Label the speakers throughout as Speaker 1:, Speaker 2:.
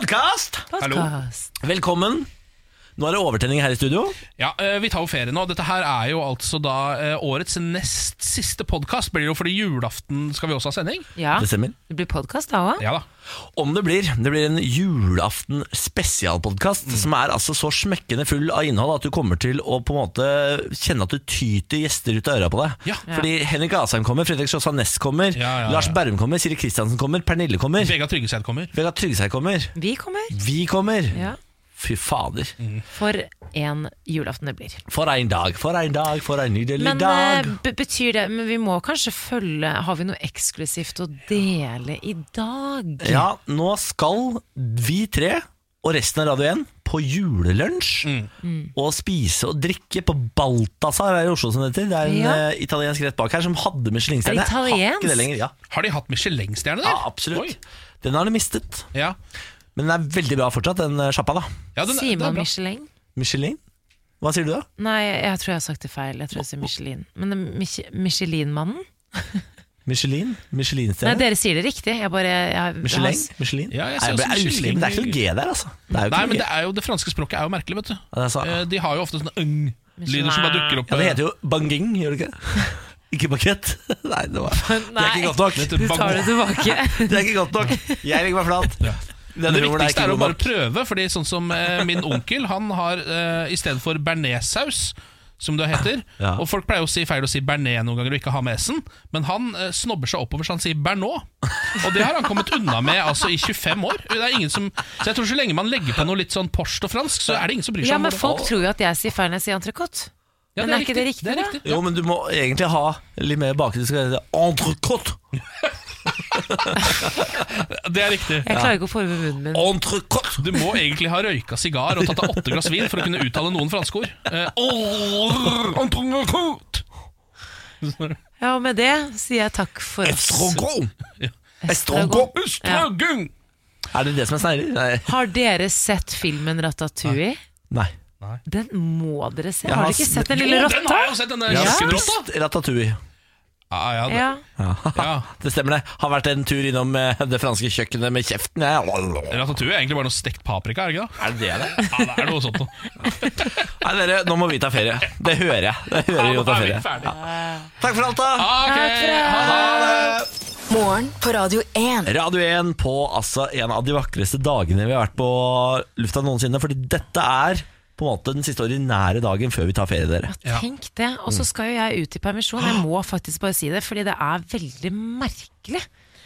Speaker 1: Podkast!
Speaker 2: Podcast.
Speaker 1: Velkommen. Nå er det overtenning her i studio.
Speaker 3: Ja, eh, Vi tar jo ferie nå. Dette her er jo altså da eh, årets nest siste podkast. Blir det jo fordi julaften skal vi også ha sending?
Speaker 2: Ja.
Speaker 1: Det stemmer.
Speaker 2: Det blir podkast da òg.
Speaker 3: Ja da.
Speaker 1: Om det blir. Det blir en julaften spesialpodkast
Speaker 3: Mm.
Speaker 1: som er altså så smekkende full av innhold at du kommer til å på en måte kjenne at du tyter gjester ut av øra på deg.
Speaker 3: Ja.
Speaker 1: Fordi Henrik Asheim kommer, Fredrik Sjåstad Næss kommer,
Speaker 3: Ja, ja, ja.
Speaker 1: Lars Berrum kommer, Siri Kristiansen kommer, Pernille kommer,
Speaker 3: Vegard Tryggeseid kommer.
Speaker 1: Vegard Tryggeseid kommer,
Speaker 2: Vi kommer.
Speaker 1: vi kommer.
Speaker 2: Ja.
Speaker 1: Fy fader.
Speaker 3: Mm.
Speaker 2: For en julaften det blir.
Speaker 1: For en dag, for en dag, for en nydelig
Speaker 2: Men
Speaker 1: dag.
Speaker 2: eh, be- betyr det Men vi må kanskje følge Har vi noe eksklusivt å dele i dag?
Speaker 1: Ja, nå skal vi tre og resten av Radio 1 på julelunsj
Speaker 3: Mm.
Speaker 2: Mm.
Speaker 1: og spise og drikke på Balthazar her i Oslo, som det heter. Det er en
Speaker 2: Ja.
Speaker 1: eh, italiensk rett bak her som hadde Michelin-stjerne.
Speaker 2: Er det
Speaker 1: Jeg har ikke
Speaker 2: italiensk?
Speaker 1: det lenger, ja.
Speaker 3: Har de hatt Michelin-stjerne
Speaker 1: ja
Speaker 3: der?
Speaker 1: absolutt.
Speaker 3: Oi.
Speaker 1: Den har de mistet,
Speaker 3: Ja.
Speaker 1: men den er veldig bra fortsatt, den eh, sjappa, da.
Speaker 3: Ja, den,
Speaker 2: Sier
Speaker 3: den altså, er
Speaker 2: man
Speaker 3: bra.
Speaker 2: Michelin?
Speaker 1: Michelin. Hva sier du, da?
Speaker 2: Nei, jeg tror jeg har sagt det feil. Jeg tror jeg sier Michelin. Men det er Mich- Michelin-mannen?
Speaker 1: Michelin?
Speaker 2: Nei,
Speaker 1: Michelin-stjerne?
Speaker 2: dere sier det riktig. Jeg bare jeg,
Speaker 1: Michelin?
Speaker 2: jeg-
Speaker 1: Michelin?
Speaker 3: Ja, jeg
Speaker 1: Nei,
Speaker 3: ser
Speaker 1: det,
Speaker 3: også
Speaker 1: er usikker,
Speaker 3: Michelin.
Speaker 1: men det er ikke noe G der, altså. Det er jo
Speaker 3: Nei,
Speaker 1: ikke noe
Speaker 3: men
Speaker 1: G.
Speaker 3: det, er jo, det franske språket er jo merkelig, vet du.
Speaker 1: Ja, det er sant.
Speaker 3: Eh, De har jo ofte sånne øng-lyder som bare dukker opp.
Speaker 1: Altså, Ja, det heter jo banging, gjør det ikke? Ikke bakett? Nei, det, var, det er
Speaker 2: Nei.
Speaker 1: ikke godt nok.
Speaker 3: Det
Speaker 2: Du tar det tilbake.
Speaker 1: Det er ikke godt nok. Jeg legger meg flat.
Speaker 3: Ja.
Speaker 1: Denne
Speaker 3: det
Speaker 1: humoren
Speaker 3: viktigste er,
Speaker 1: ikke god
Speaker 3: å bare
Speaker 1: nok.
Speaker 3: prøve, Fordi sånn som eh, min onkel, han har eh, i stedet for bearnéssaus, som det heter
Speaker 1: Ja.
Speaker 3: Og folk pleier å si feil å si bearnés noen ganger og ikke ha med s-en, men han eh, snobber seg oppover så han sier bernot. Og det har han kommet unna med altså i 25 år. Det er ingen som, så jeg tror så lenge man legger på noe litt sånn porst og fransk, så er det ingen som bryr seg
Speaker 2: Ja,
Speaker 3: om
Speaker 2: men
Speaker 3: det.
Speaker 2: folk tror jo at jeg sier feil når jeg sier entrecôte.
Speaker 3: Ja,
Speaker 2: men er ikke det riktig,
Speaker 3: Det er
Speaker 2: da?
Speaker 3: riktig.
Speaker 1: Jo, men du må egentlig ha litt mer bakgrunn. Det skal hete entrecôte.
Speaker 3: Det er riktig.
Speaker 2: Jeg klarer ikke å forme munnen min.
Speaker 1: Entrecôte.
Speaker 3: Du må egentlig ha røyka sigar og tatt deg åtte glass vin for å kunne uttale noen franske ord. Eh, or- entrecôte.
Speaker 2: Ja, og med det sier jeg takk for oss.
Speaker 1: Estrogon.
Speaker 2: Estrogon.
Speaker 1: Estrogon.
Speaker 3: Ustragung!
Speaker 1: Er det det som er snegler? Nei.
Speaker 2: Har dere sett filmen Ratatouille?
Speaker 1: Nei.
Speaker 2: Den må dere se.
Speaker 1: Jeg
Speaker 2: Har
Speaker 1: har
Speaker 2: dere ikke
Speaker 1: s-
Speaker 2: sett den
Speaker 3: Jo,
Speaker 2: lille
Speaker 3: den har jeg jo
Speaker 2: rotta?
Speaker 3: sett, den
Speaker 1: Jeg har
Speaker 3: kjøkkenrotta!
Speaker 1: spist ratatouille.
Speaker 3: Ja, ja, det-
Speaker 2: Ja.
Speaker 3: ja.
Speaker 1: Det stemmer det. Har vært en tur innom eh, det franske kjøkkenet med kjeften. jeg.
Speaker 3: Ratatouille er egentlig bare noe stekt paprika, er det ikke det?
Speaker 1: Er det det det?
Speaker 3: Ja, det er noe sånt noe.
Speaker 1: Nei, dere, nå må vi ta ferie. Det hører jeg. Det
Speaker 3: Ja,
Speaker 1: hører vi
Speaker 3: nå
Speaker 1: å ta
Speaker 3: er vi
Speaker 1: ferie.
Speaker 3: ferdige.
Speaker 1: Takk for alt, da.
Speaker 3: Ah, Ok, ha det!
Speaker 4: Morgen på Radio 1.
Speaker 1: Radio 1 på altså en av de vakreste dagene vi har vært på lufta noensinne. Fordi dette er på en måte den siste ordinære dagen før vi tar ferie, dere.
Speaker 2: Tenk det. Og så skal jo jeg ut i permisjon. Jeg må faktisk bare si det, fordi det er veldig merkelig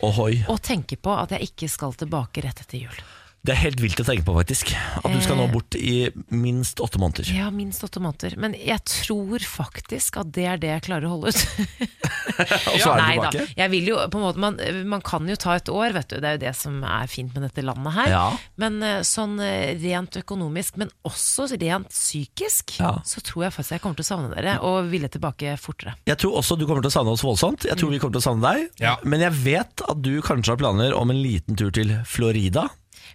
Speaker 1: Ohoi.
Speaker 2: å tenke på at jeg ikke skal tilbake rett etter jul.
Speaker 1: Det er helt vilt å tenke på, faktisk. At du skal nå bort i minst åtte måneder.
Speaker 2: Ja, minst åtte måneder. Men jeg tror faktisk at det er det jeg klarer å holde ut.
Speaker 1: Og så er du
Speaker 2: Nei da.
Speaker 1: tilbake.
Speaker 2: Jeg vil jo, på en måte, man, man kan jo ta et år, vet du. Det er jo det som er fint med dette landet her.
Speaker 1: Ja.
Speaker 2: Men eh, sånn eh, rent økonomisk, men også rent psykisk,
Speaker 1: Ja.
Speaker 2: så tror jeg faktisk jeg kommer til å savne dere og ville tilbake fortere.
Speaker 1: Jeg tror også du kommer til å savne oss voldsomt. Jeg tror vi kommer til å savne deg.
Speaker 3: Ja.
Speaker 1: Men jeg vet at du kanskje har planer om en liten tur til Florida.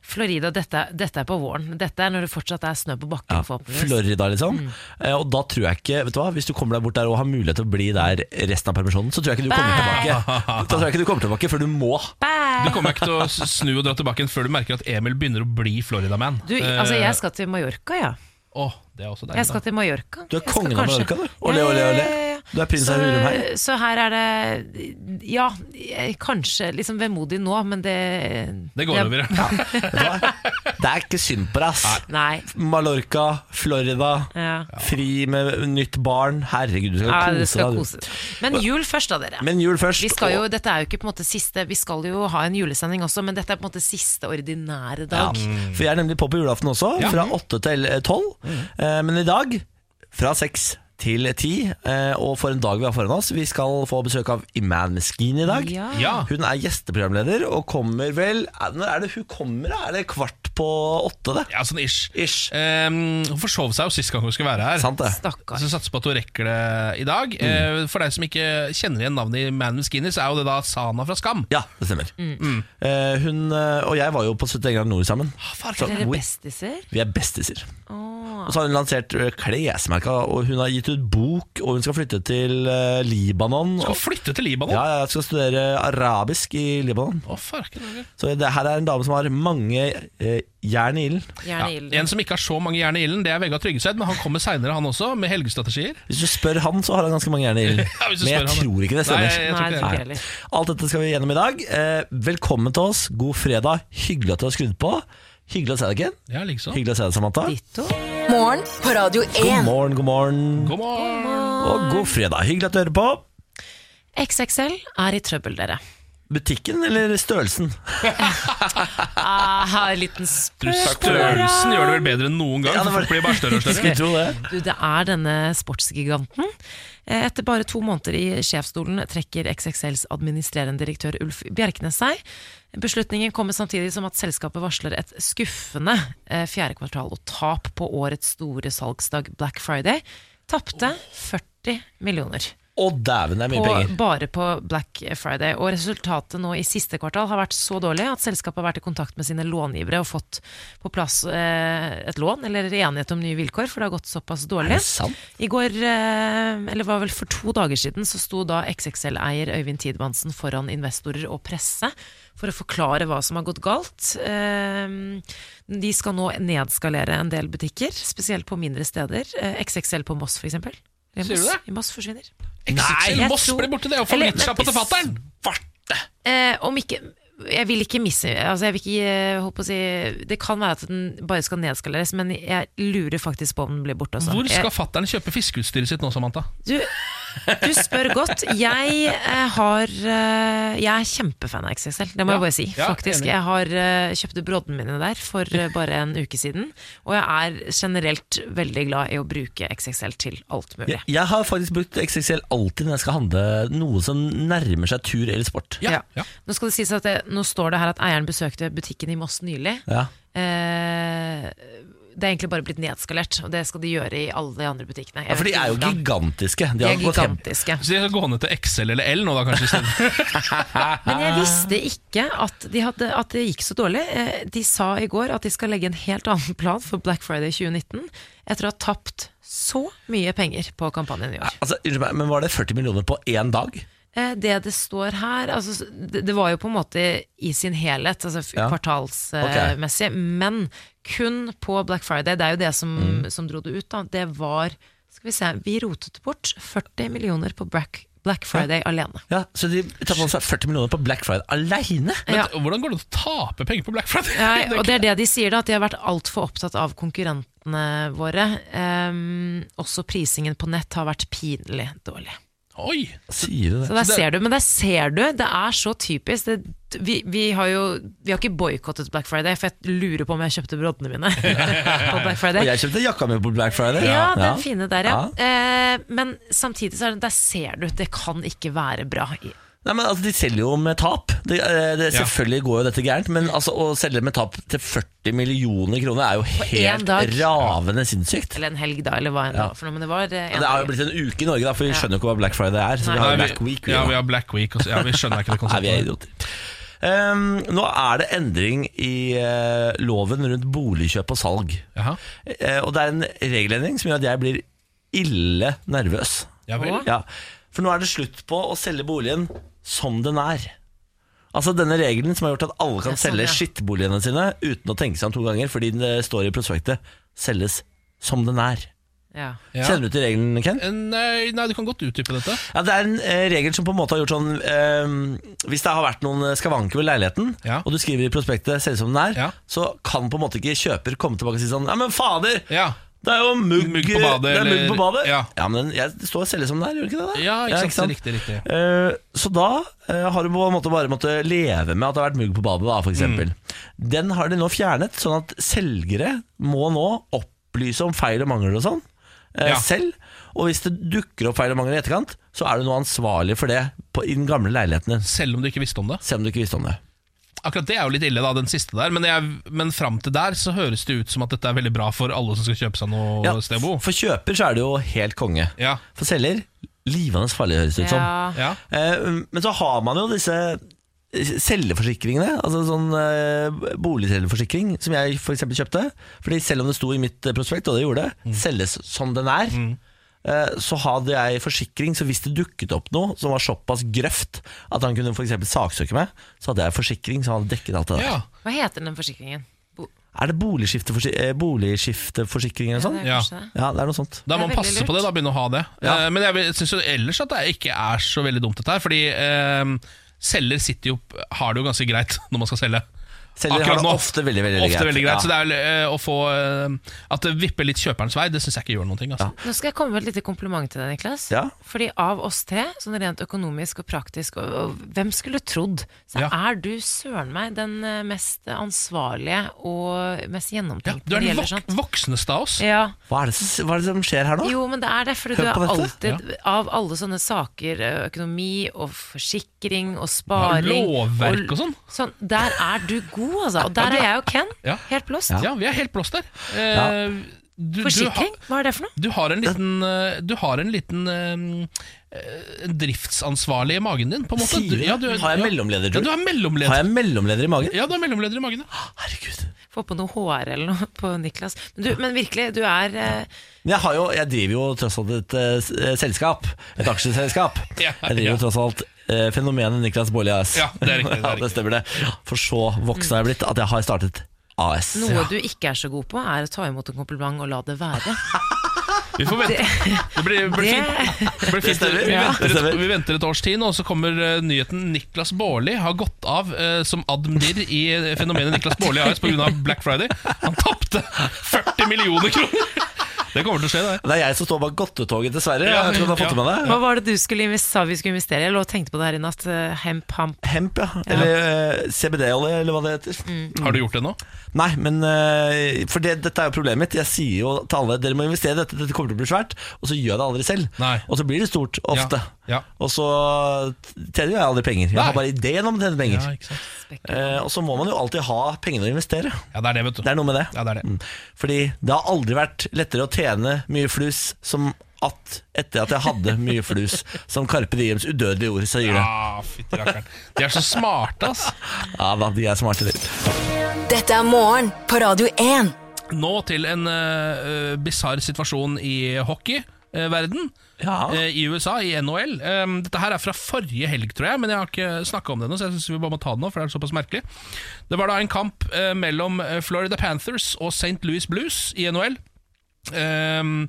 Speaker 2: Florida, dette, dette er på våren. Dette er når det fortsatt er snø på bakken,
Speaker 1: Ja,
Speaker 2: forhåpentligvis. Mm.
Speaker 1: Florida, liksom. Eh, Og da tror jeg ikke Vet du hva, hvis du kommer deg bort der og har mulighet til å bli der resten av permisjonen, så tror jeg ikke du kommer
Speaker 2: Bye.
Speaker 1: tilbake. Da tror jeg ikke du kommer tilbake før du må.
Speaker 3: Du
Speaker 2: Bye!
Speaker 3: kommer ikke til å s- snu og dra tilbake igjen før du merker at Emil begynner å bli Florida-man. Eh,
Speaker 2: Du, altså, jeg skal til Mallorca, ja.
Speaker 3: Åh, det er også deilig.
Speaker 2: Jeg skal til Mallorca.
Speaker 1: Du er
Speaker 2: Jeg skal
Speaker 1: kongen av
Speaker 2: kanskje-
Speaker 1: Mallorca, du. Ole, ole, ole. Du er prins av Hurum her.
Speaker 2: Så, så her er det Ja, jeg- kanskje liksom vemodig nå, men det
Speaker 3: Det går
Speaker 2: jeg-
Speaker 3: over.
Speaker 1: Vet du hva? Det er ikke synd på deg, ass.
Speaker 2: Nei.
Speaker 1: Mallorca, Florida,
Speaker 2: Ja.
Speaker 1: fri med nytt barn. Herregud, du skal
Speaker 2: Ja, det
Speaker 1: kose
Speaker 2: skal
Speaker 1: deg. du.
Speaker 2: kose. Men jul først, da, dere.
Speaker 1: Men jul først.
Speaker 2: Vi skal jo,
Speaker 1: og-
Speaker 2: dette er jo ikke på en måte siste Vi skal jo ha en julesending også, men dette er på en måte siste ordinære
Speaker 1: ja,
Speaker 2: dag.
Speaker 1: For jeg er nemlig på på julaften også,
Speaker 3: Ja.
Speaker 1: fra åtte til tolv. Eh, Men i dag fra seks til ti. eh, Og for en dag vi har foran oss. Vi skal få besøk av Iman Meskin i dag.
Speaker 2: Ja.
Speaker 3: Ja.
Speaker 1: Hun er gjesteprogramleder og kommer vel er- Når er det hun kommer? da? Er det kvart på åtte, det?
Speaker 3: ja, sånn ish.
Speaker 1: Ish.
Speaker 3: Ehm, hun forsov seg jo sist gang hun skulle være her.
Speaker 1: Sant Mm. det?
Speaker 2: Stakkar.
Speaker 3: Så jeg satser på at hun rekker det i dag. Eh, For deg som ikke kjenner igjen navnet i Man with Skinny, så er jo det da Sana fra Skam.
Speaker 1: Ja, det stemmer.
Speaker 3: Mm.
Speaker 1: Eh, hun eh, og jeg var jo på 71 grader nord sammen.
Speaker 3: Ah, far,
Speaker 1: Så
Speaker 2: Dere
Speaker 1: hvor-
Speaker 2: bestiser?
Speaker 1: vi er bestiser.
Speaker 2: Åh.
Speaker 3: Ah.
Speaker 1: Og så har hun lansert eh, ø, klesmerka, og hun har gitt ut bok, og hun skal flytte til ø, Libanon.
Speaker 3: Skal
Speaker 1: Og-
Speaker 3: flytte til Libanon?
Speaker 1: ja, ja, skal studere arabisk i Libanon.
Speaker 3: Å, farken, Roger.
Speaker 1: Så det her er en dame som har mange eh, jern i ilden.
Speaker 2: Gjerne
Speaker 3: ja,
Speaker 2: ilden.
Speaker 3: en som ikke har så mange jern i ilden, det er Vegard Tryggeseid, men han kommer seinere, han også, med helgestrategier.
Speaker 1: Hvis du spør han, så har han ganske mange jern i ilden.
Speaker 3: Ja, hvis du
Speaker 1: Men jeg
Speaker 3: spør han, da.
Speaker 1: tror ikke det stemmer.
Speaker 3: Nei, jeg tror
Speaker 2: Nei,
Speaker 3: ikke det.
Speaker 2: det tror ikke jeg heller.
Speaker 1: Alt dette skal vi gjennom i dag. Eh, velkommen til oss. God fredag. Hyggelig at du har skrudd på. Hyggelig å se deg, Ken.
Speaker 3: Ja, liksom.
Speaker 1: Hyggelig å se deg, Samantha.
Speaker 2: Ditto.
Speaker 4: Morgen på Radio
Speaker 1: God
Speaker 4: 1.
Speaker 1: morgen, god morgen.
Speaker 3: God morgen.
Speaker 1: Og god fredag. Hyggelig at du hører på.
Speaker 2: XXL er i trøbbel, dere.
Speaker 1: Butikken eller størrelsen?
Speaker 2: Ah, en liten spøk på dere.
Speaker 3: Størrelsen gjør det vel bedre enn noen gang.
Speaker 1: Ja, det
Speaker 3: for
Speaker 1: var-
Speaker 3: folk blir bare større og større.
Speaker 1: Skulle tro det.
Speaker 2: Du, det er denne sportsgiganten. Eh, Etter bare to måneder i sjefsstolen trekker XXLs administrerende direktør Ulf Bjerknes seg. Beslutningen kommer samtidig som at selskapet varsler et skuffende eh, fjerde kvartal og tap på årets store salgsdag Black Friday. Tapte 40 millioner
Speaker 1: Å, dæven, det er mye
Speaker 2: på,
Speaker 1: penger.
Speaker 2: bare på Black Friday. Og resultatet nå i siste kvartal har vært så dårlig at selskapet har vært i kontakt med sine långivere og fått på plass eh, et lån, eller enighet om nye vilkår, for det har gått såpass dårlig.
Speaker 1: Er det sant?
Speaker 2: I går, eh, eller var vel for to dager siden, så sto da XXL-eier Øyvind Tidmannsen foran investorer og presse for å forklare hva som har gått galt. Eh, De skal nå nedskalere en del butikker, spesielt på mindre steder. Eh, XXL på Moss, for eksempel. I
Speaker 3: Sier du
Speaker 2: Moss-
Speaker 3: det?
Speaker 2: I Moss forsvinner.
Speaker 3: XXL
Speaker 2: jeg
Speaker 3: Moss
Speaker 2: tror-
Speaker 3: ble borte, det, og
Speaker 2: Eller-
Speaker 3: forlitsa på til fatter'n. Svarte!
Speaker 2: Eh, om ikke jeg vil ikke misse altså jeg vil ikke, eh, holdt på å si, Det kan være at den bare skal nedskaleres, men jeg lurer faktisk på om den blir borte. Også.
Speaker 3: Hvor skal
Speaker 2: jeg,
Speaker 3: fatter'n kjøpe fiskeutstyret sitt nå, Samantha?
Speaker 2: du, du spør godt. Jeg eh, har eh, Jeg er kjempefan av XXL, det må
Speaker 3: Ja,
Speaker 2: jeg bare si.
Speaker 3: ja,
Speaker 2: faktisk
Speaker 3: enig.
Speaker 2: Jeg har eh, kjøpte broddene mine der for eh, bare en uke siden. Og jeg er generelt veldig glad i å bruke XXL til alt mulig.
Speaker 1: Jeg, jeg har faktisk brukt XXL alltid når jeg skal handle noe som nærmer seg tur eller sport.
Speaker 3: Ja, ja.
Speaker 2: Nå skal det sies at det, nå står det her at eieren besøkte butikken i Moss nylig.
Speaker 1: Ja.
Speaker 2: Eh, det er egentlig bare blitt nedskalert, og det skal de gjøre i alle de andre butikkene. Jeg
Speaker 1: Ja, for de
Speaker 2: vet
Speaker 1: er jo
Speaker 2: hvordan.
Speaker 1: gigantiske. De
Speaker 2: De
Speaker 1: har
Speaker 2: er
Speaker 1: gått hjem.
Speaker 2: gigantiske.
Speaker 3: Så de skal gå ned til XL eller L nå, da, kanskje? i stedet.
Speaker 2: Men
Speaker 1: Ah.
Speaker 2: jeg visste ikke at, de hadde, at det gikk så dårlig. Eh, De sa i går at de skal legge en helt annen plan for Black Friday 2019 etter å ha tapt så mye penger på kampanjen i år.
Speaker 1: Altså, unnskyld meg, men var det 40 millioner på én dag?
Speaker 2: Eh, Det det står her altså, s- det, det var jo på en måte i sin helhet, altså f-
Speaker 1: Ja.
Speaker 2: kvartalsmessig, men kun på Black Friday. Det er jo det som,
Speaker 1: Mm.
Speaker 2: som dro det ut, da. Det var Skal vi se, vi rotet bort 40 millioner på Black, Black Friday alene.
Speaker 1: Ja, Så de tar på seg 40 millioner på Black Friday aleine?
Speaker 2: Ja.
Speaker 3: Men Hvordan går det an å tape penger på Black Friday?
Speaker 2: Ja,
Speaker 3: Det er
Speaker 2: og det er det de sier, da, at de har vært altfor opptatt av konkurrentene våre. Ehm, også prisingen på nett har vært pinlig dårlig.
Speaker 3: ikke- Oi!
Speaker 1: Sier du det?
Speaker 2: Så der ser du, Men der ser du, det er så typisk. Det, vi, vi har jo vi har ikke boikottet Black Friday, for jeg lurer på om jeg kjøpte broddene mine på
Speaker 1: Og
Speaker 2: Black Friday.
Speaker 1: jeg kjøpte jakka mi på Black Friday.
Speaker 2: Ja, den fine der, ja. Eh, men samtidig så er det, der ser du, det kan ikke være bra. i-
Speaker 1: Nei, men altså, De selger jo med tap. Det, eh, det,
Speaker 3: Ja.
Speaker 1: selvfølgelig går jo dette gærent, men altså, å selge med tap til 40 millioner kroner er jo
Speaker 2: én
Speaker 1: helt
Speaker 2: dag.
Speaker 1: ravende sinnssykt.
Speaker 2: Eller en helg, da, eller hva enn det var for noe. Men det var eh, en
Speaker 1: Det har jo
Speaker 2: dag.
Speaker 1: blitt en uke i Norge, da, for vi skjønner jo ikke hva Black Friday er. Så
Speaker 2: Nei.
Speaker 1: vi har jo
Speaker 3: Nei,
Speaker 1: Black Week.
Speaker 3: ja,
Speaker 1: da.
Speaker 3: vi har Black Week. Også. Ja, vi skjønner ikke det
Speaker 1: Nei, vi er
Speaker 3: konseptet.
Speaker 1: idioter. Ehm, nå er det endring i eh, loven rundt boligkjøp og salg.
Speaker 3: Jaha.
Speaker 1: Eh, og det er en regelendring som gjør at jeg blir ille nervøs.
Speaker 3: Ja vel.
Speaker 1: Ja, for nå er det slutt på å selge boligen som den er. Altså denne regelen som har gjort at alle kan
Speaker 2: Det er sånn,
Speaker 1: selge
Speaker 2: ja.
Speaker 1: skittboligene sine uten å tenke seg om to ganger, fordi det står i prospektet 'selges som den er'.
Speaker 2: Ja.
Speaker 3: Ja. Eh.
Speaker 1: Kjenner du til regelen, Ken?
Speaker 3: Nei, nei, du kan godt utdype dette.
Speaker 1: Ja, Det er en eh, regel som på en måte har gjort sånn eh, Hvis det har vært noen skavanker ved leiligheten,
Speaker 3: Ja.
Speaker 1: og du skriver i prospektet 'selges som den er',
Speaker 3: Ja.
Speaker 1: så kan på en måte ikke kjøper komme tilbake og si sånn 'ja, men fader'!
Speaker 3: Ja.
Speaker 1: Det er jo mugg,
Speaker 3: Mugg på badet,
Speaker 1: Det er mugg
Speaker 3: eller-
Speaker 1: på badet. Ja.
Speaker 3: ja.
Speaker 1: men jeg det står selv som det er, gjør det ikke det? da?
Speaker 3: Ja, ikke sant, riktig, riktig.
Speaker 1: Eh, så da eh, har du på en måte bare måttet leve med at det har vært mugg på badet, da, for eksempel.
Speaker 3: Mm.
Speaker 1: Den har de nå fjernet, sånn at selgere må nå opplyse om feil og mangler og sånn eh,
Speaker 3: Ja.
Speaker 1: selv. Og hvis det dukker opp feil og mangler i etterkant, så er du nå ansvarlig for det på, i den gamle leiligheten din.
Speaker 3: Selv om du ikke visste om det.
Speaker 1: Selv om du ikke visste om det.
Speaker 3: Akkurat det er jo litt ille, da, den siste der. Men, jeg, men fram til der så høres det ut som at dette er veldig bra for alle som skal kjøpe seg noe
Speaker 1: Ja,
Speaker 3: sted å bo.
Speaker 1: for kjøper så er det jo helt konge.
Speaker 3: Ja.
Speaker 1: For selger livende farlig, høres det ut som.
Speaker 2: Ja.
Speaker 3: Ja.
Speaker 1: Eh, Men så har man jo disse celleforsikringene, altså sånn eh, boligcelleforsikring, som jeg f.eks. For kjøpte Fordi selv om det sto i mitt eh, prospekt, og det gjorde
Speaker 3: Mm.
Speaker 1: det, selges som den er, eh, så hadde jeg forsikring. Så hvis det dukket opp noe som var såpass grøft at han kunne for eksempel saksøke meg, så hadde jeg forsikring som hadde dekket alt det der.
Speaker 3: Ja,
Speaker 2: Hva heter den forsikringen? Bo
Speaker 1: Er det boligskifteforsi- eh, boligskifteforsikring eller noe sånt?
Speaker 2: det er
Speaker 3: Ja.
Speaker 2: kanskje det.
Speaker 1: Ja, det er noe sånt.
Speaker 3: Da
Speaker 2: Det
Speaker 3: må
Speaker 2: er
Speaker 3: man passe
Speaker 2: veldig
Speaker 3: på det, da begynne å ha det.
Speaker 1: Ja.
Speaker 3: Eh, men jeg syns ellers at det ikke er så veldig dumt, dette her. Fordi eh, selger sitter jo har det jo ganske greit når man skal selge.
Speaker 1: Selger har
Speaker 3: Akkurat
Speaker 1: det
Speaker 3: nå.
Speaker 1: ofte veldig, veldig
Speaker 3: Ofte
Speaker 1: greit.
Speaker 3: veldig greit
Speaker 1: Ja.
Speaker 3: Så det er eh, å få eh, At det vipper litt kjøperens vei, det syns jeg ikke gjør noen ting. Altså.
Speaker 2: Nå skal jeg komme med et lite kompliment til deg, Niklas.
Speaker 1: Ja.
Speaker 2: Fordi av oss tre, sånn rent økonomisk og praktisk, og, og hvem skulle trodd, så
Speaker 3: Ja.
Speaker 2: er du søren meg den eh, mest ansvarlige og mest
Speaker 3: Ja,
Speaker 2: gjennomtenkte
Speaker 3: du er
Speaker 2: når det
Speaker 3: den
Speaker 2: gjelder
Speaker 3: vok
Speaker 2: sånt.
Speaker 3: voksneste av oss.
Speaker 2: Ja.
Speaker 1: Hva, er det, som- hva er det som skjer her nå?
Speaker 2: Jo, men det er det, fordi
Speaker 1: Hør
Speaker 2: du er
Speaker 1: på dette.
Speaker 2: alltid Av alle sånne saker, ø, økonomi og forsikring og
Speaker 3: Ja,
Speaker 2: sparing
Speaker 3: lovverk og sånn.
Speaker 2: Sånn, Der er du god, altså. Og der er jeg og Ken.
Speaker 3: Ja.
Speaker 2: Helt blåst.
Speaker 3: Ja, vi er helt blåst der. Eh, du,
Speaker 2: Forsikring,
Speaker 3: Du,
Speaker 2: hva er det for noe?
Speaker 3: ha, du har en liten, eh, du har en liten eh, eh, driftsansvarlig i magen din, på en måte.
Speaker 1: Sier du det?
Speaker 3: ja, du,
Speaker 1: Har jeg
Speaker 3: ja.
Speaker 1: mellomleder,
Speaker 3: Ja,
Speaker 1: tror
Speaker 3: du har
Speaker 1: Har
Speaker 3: mellomleder.
Speaker 1: jeg mellomleder i magen?
Speaker 3: Ja, du har mellomleder i magen. ja.
Speaker 1: Herregud.
Speaker 2: Få på noe HR eller noe på Niklas. Men, du, men virkelig, du er eh,
Speaker 1: Men jeg, har jo, jeg driver jo tross alt et eh, s- eh, selskap. Et aksjeselskap.
Speaker 3: Ja,
Speaker 1: jeg driver
Speaker 3: ja.
Speaker 1: jo tross alt eh, fenomenet Niklas Baarli AS.
Speaker 3: Ja, det er riktig, det er
Speaker 1: Ja,
Speaker 3: riktig.
Speaker 1: stemmer det. For så voksen har jeg blitt at jeg har startet AS.
Speaker 2: Noe du ikke er så god på, er å ta imot en kompliment og la det være.
Speaker 3: Vi får vente. Det blir, blir fint.
Speaker 2: Det,
Speaker 3: Det blir fint.
Speaker 1: Det stemmer.
Speaker 3: Vi,
Speaker 1: Ja. Det
Speaker 3: venter et,
Speaker 1: stemmer.
Speaker 3: vi venter et års tid nå, og så kommer eh, nyheten Niklas Baarli har gått av eh, som admdir i eh, fenomenet Niklas Baarli AS pga. Black Friday. Han tapte 40 millioner kroner! Det kommer til å skje, det.
Speaker 1: Det er jeg som står bak godtetoget, dessverre.
Speaker 3: Ja,
Speaker 1: jeg vet ikke om du har fått
Speaker 3: ja.
Speaker 1: med deg
Speaker 2: hva var det du skulle invest- sa vi skulle investere i? Jeg lå og tenkte på det her i natt. eh, Hemp, hamp.
Speaker 1: Hemp, ja. Eller eh, CBD-olje, eller hva det heter.
Speaker 3: Har du gjort det nå?
Speaker 1: Nei, men eh, For det, dette er jo problemet mitt. Jeg sier jo til alle dere må investere i dette, dette kommer til å bli svært. Og så gjør jeg det aldri selv.
Speaker 3: Nei.
Speaker 1: Og så blir det stort ofte.
Speaker 3: Ja, ja.
Speaker 1: Og så tjener jo jeg aldri penger. Jeg
Speaker 3: Nei.
Speaker 1: har bare ideen om å tjene penger.
Speaker 3: Ja, ikke sant?
Speaker 1: Eh, og så må man jo alltid ha pengene å investere.
Speaker 3: Ja, det er det, vet du.
Speaker 1: Det er noe med det.
Speaker 3: Ja, det er det.
Speaker 1: Mm. Fordi det har aldri vært lettere å tjene mye flus som at etter at jeg hadde mye flus, som Carpe Diems udødelige ord sier det.
Speaker 3: Ah, fytti rakkeren. De er så smarte, ass.
Speaker 1: Ja da, de er smarte. de.
Speaker 4: Dette er morgen på Radio 1.
Speaker 3: Nå til en uh, bisarr situasjon i hockeyverden.
Speaker 1: Ja.
Speaker 3: Eh, I USA, i NHL. Ehm, dette her er fra forrige helg, tror jeg, men jeg har ikke snakka om det nå, så jeg synes vi bare må ta det nå, for det er såpass merkelig. Det var da en kamp eh, mellom eh, Florida Panthers og St. Louis Blues i NHL. ehm,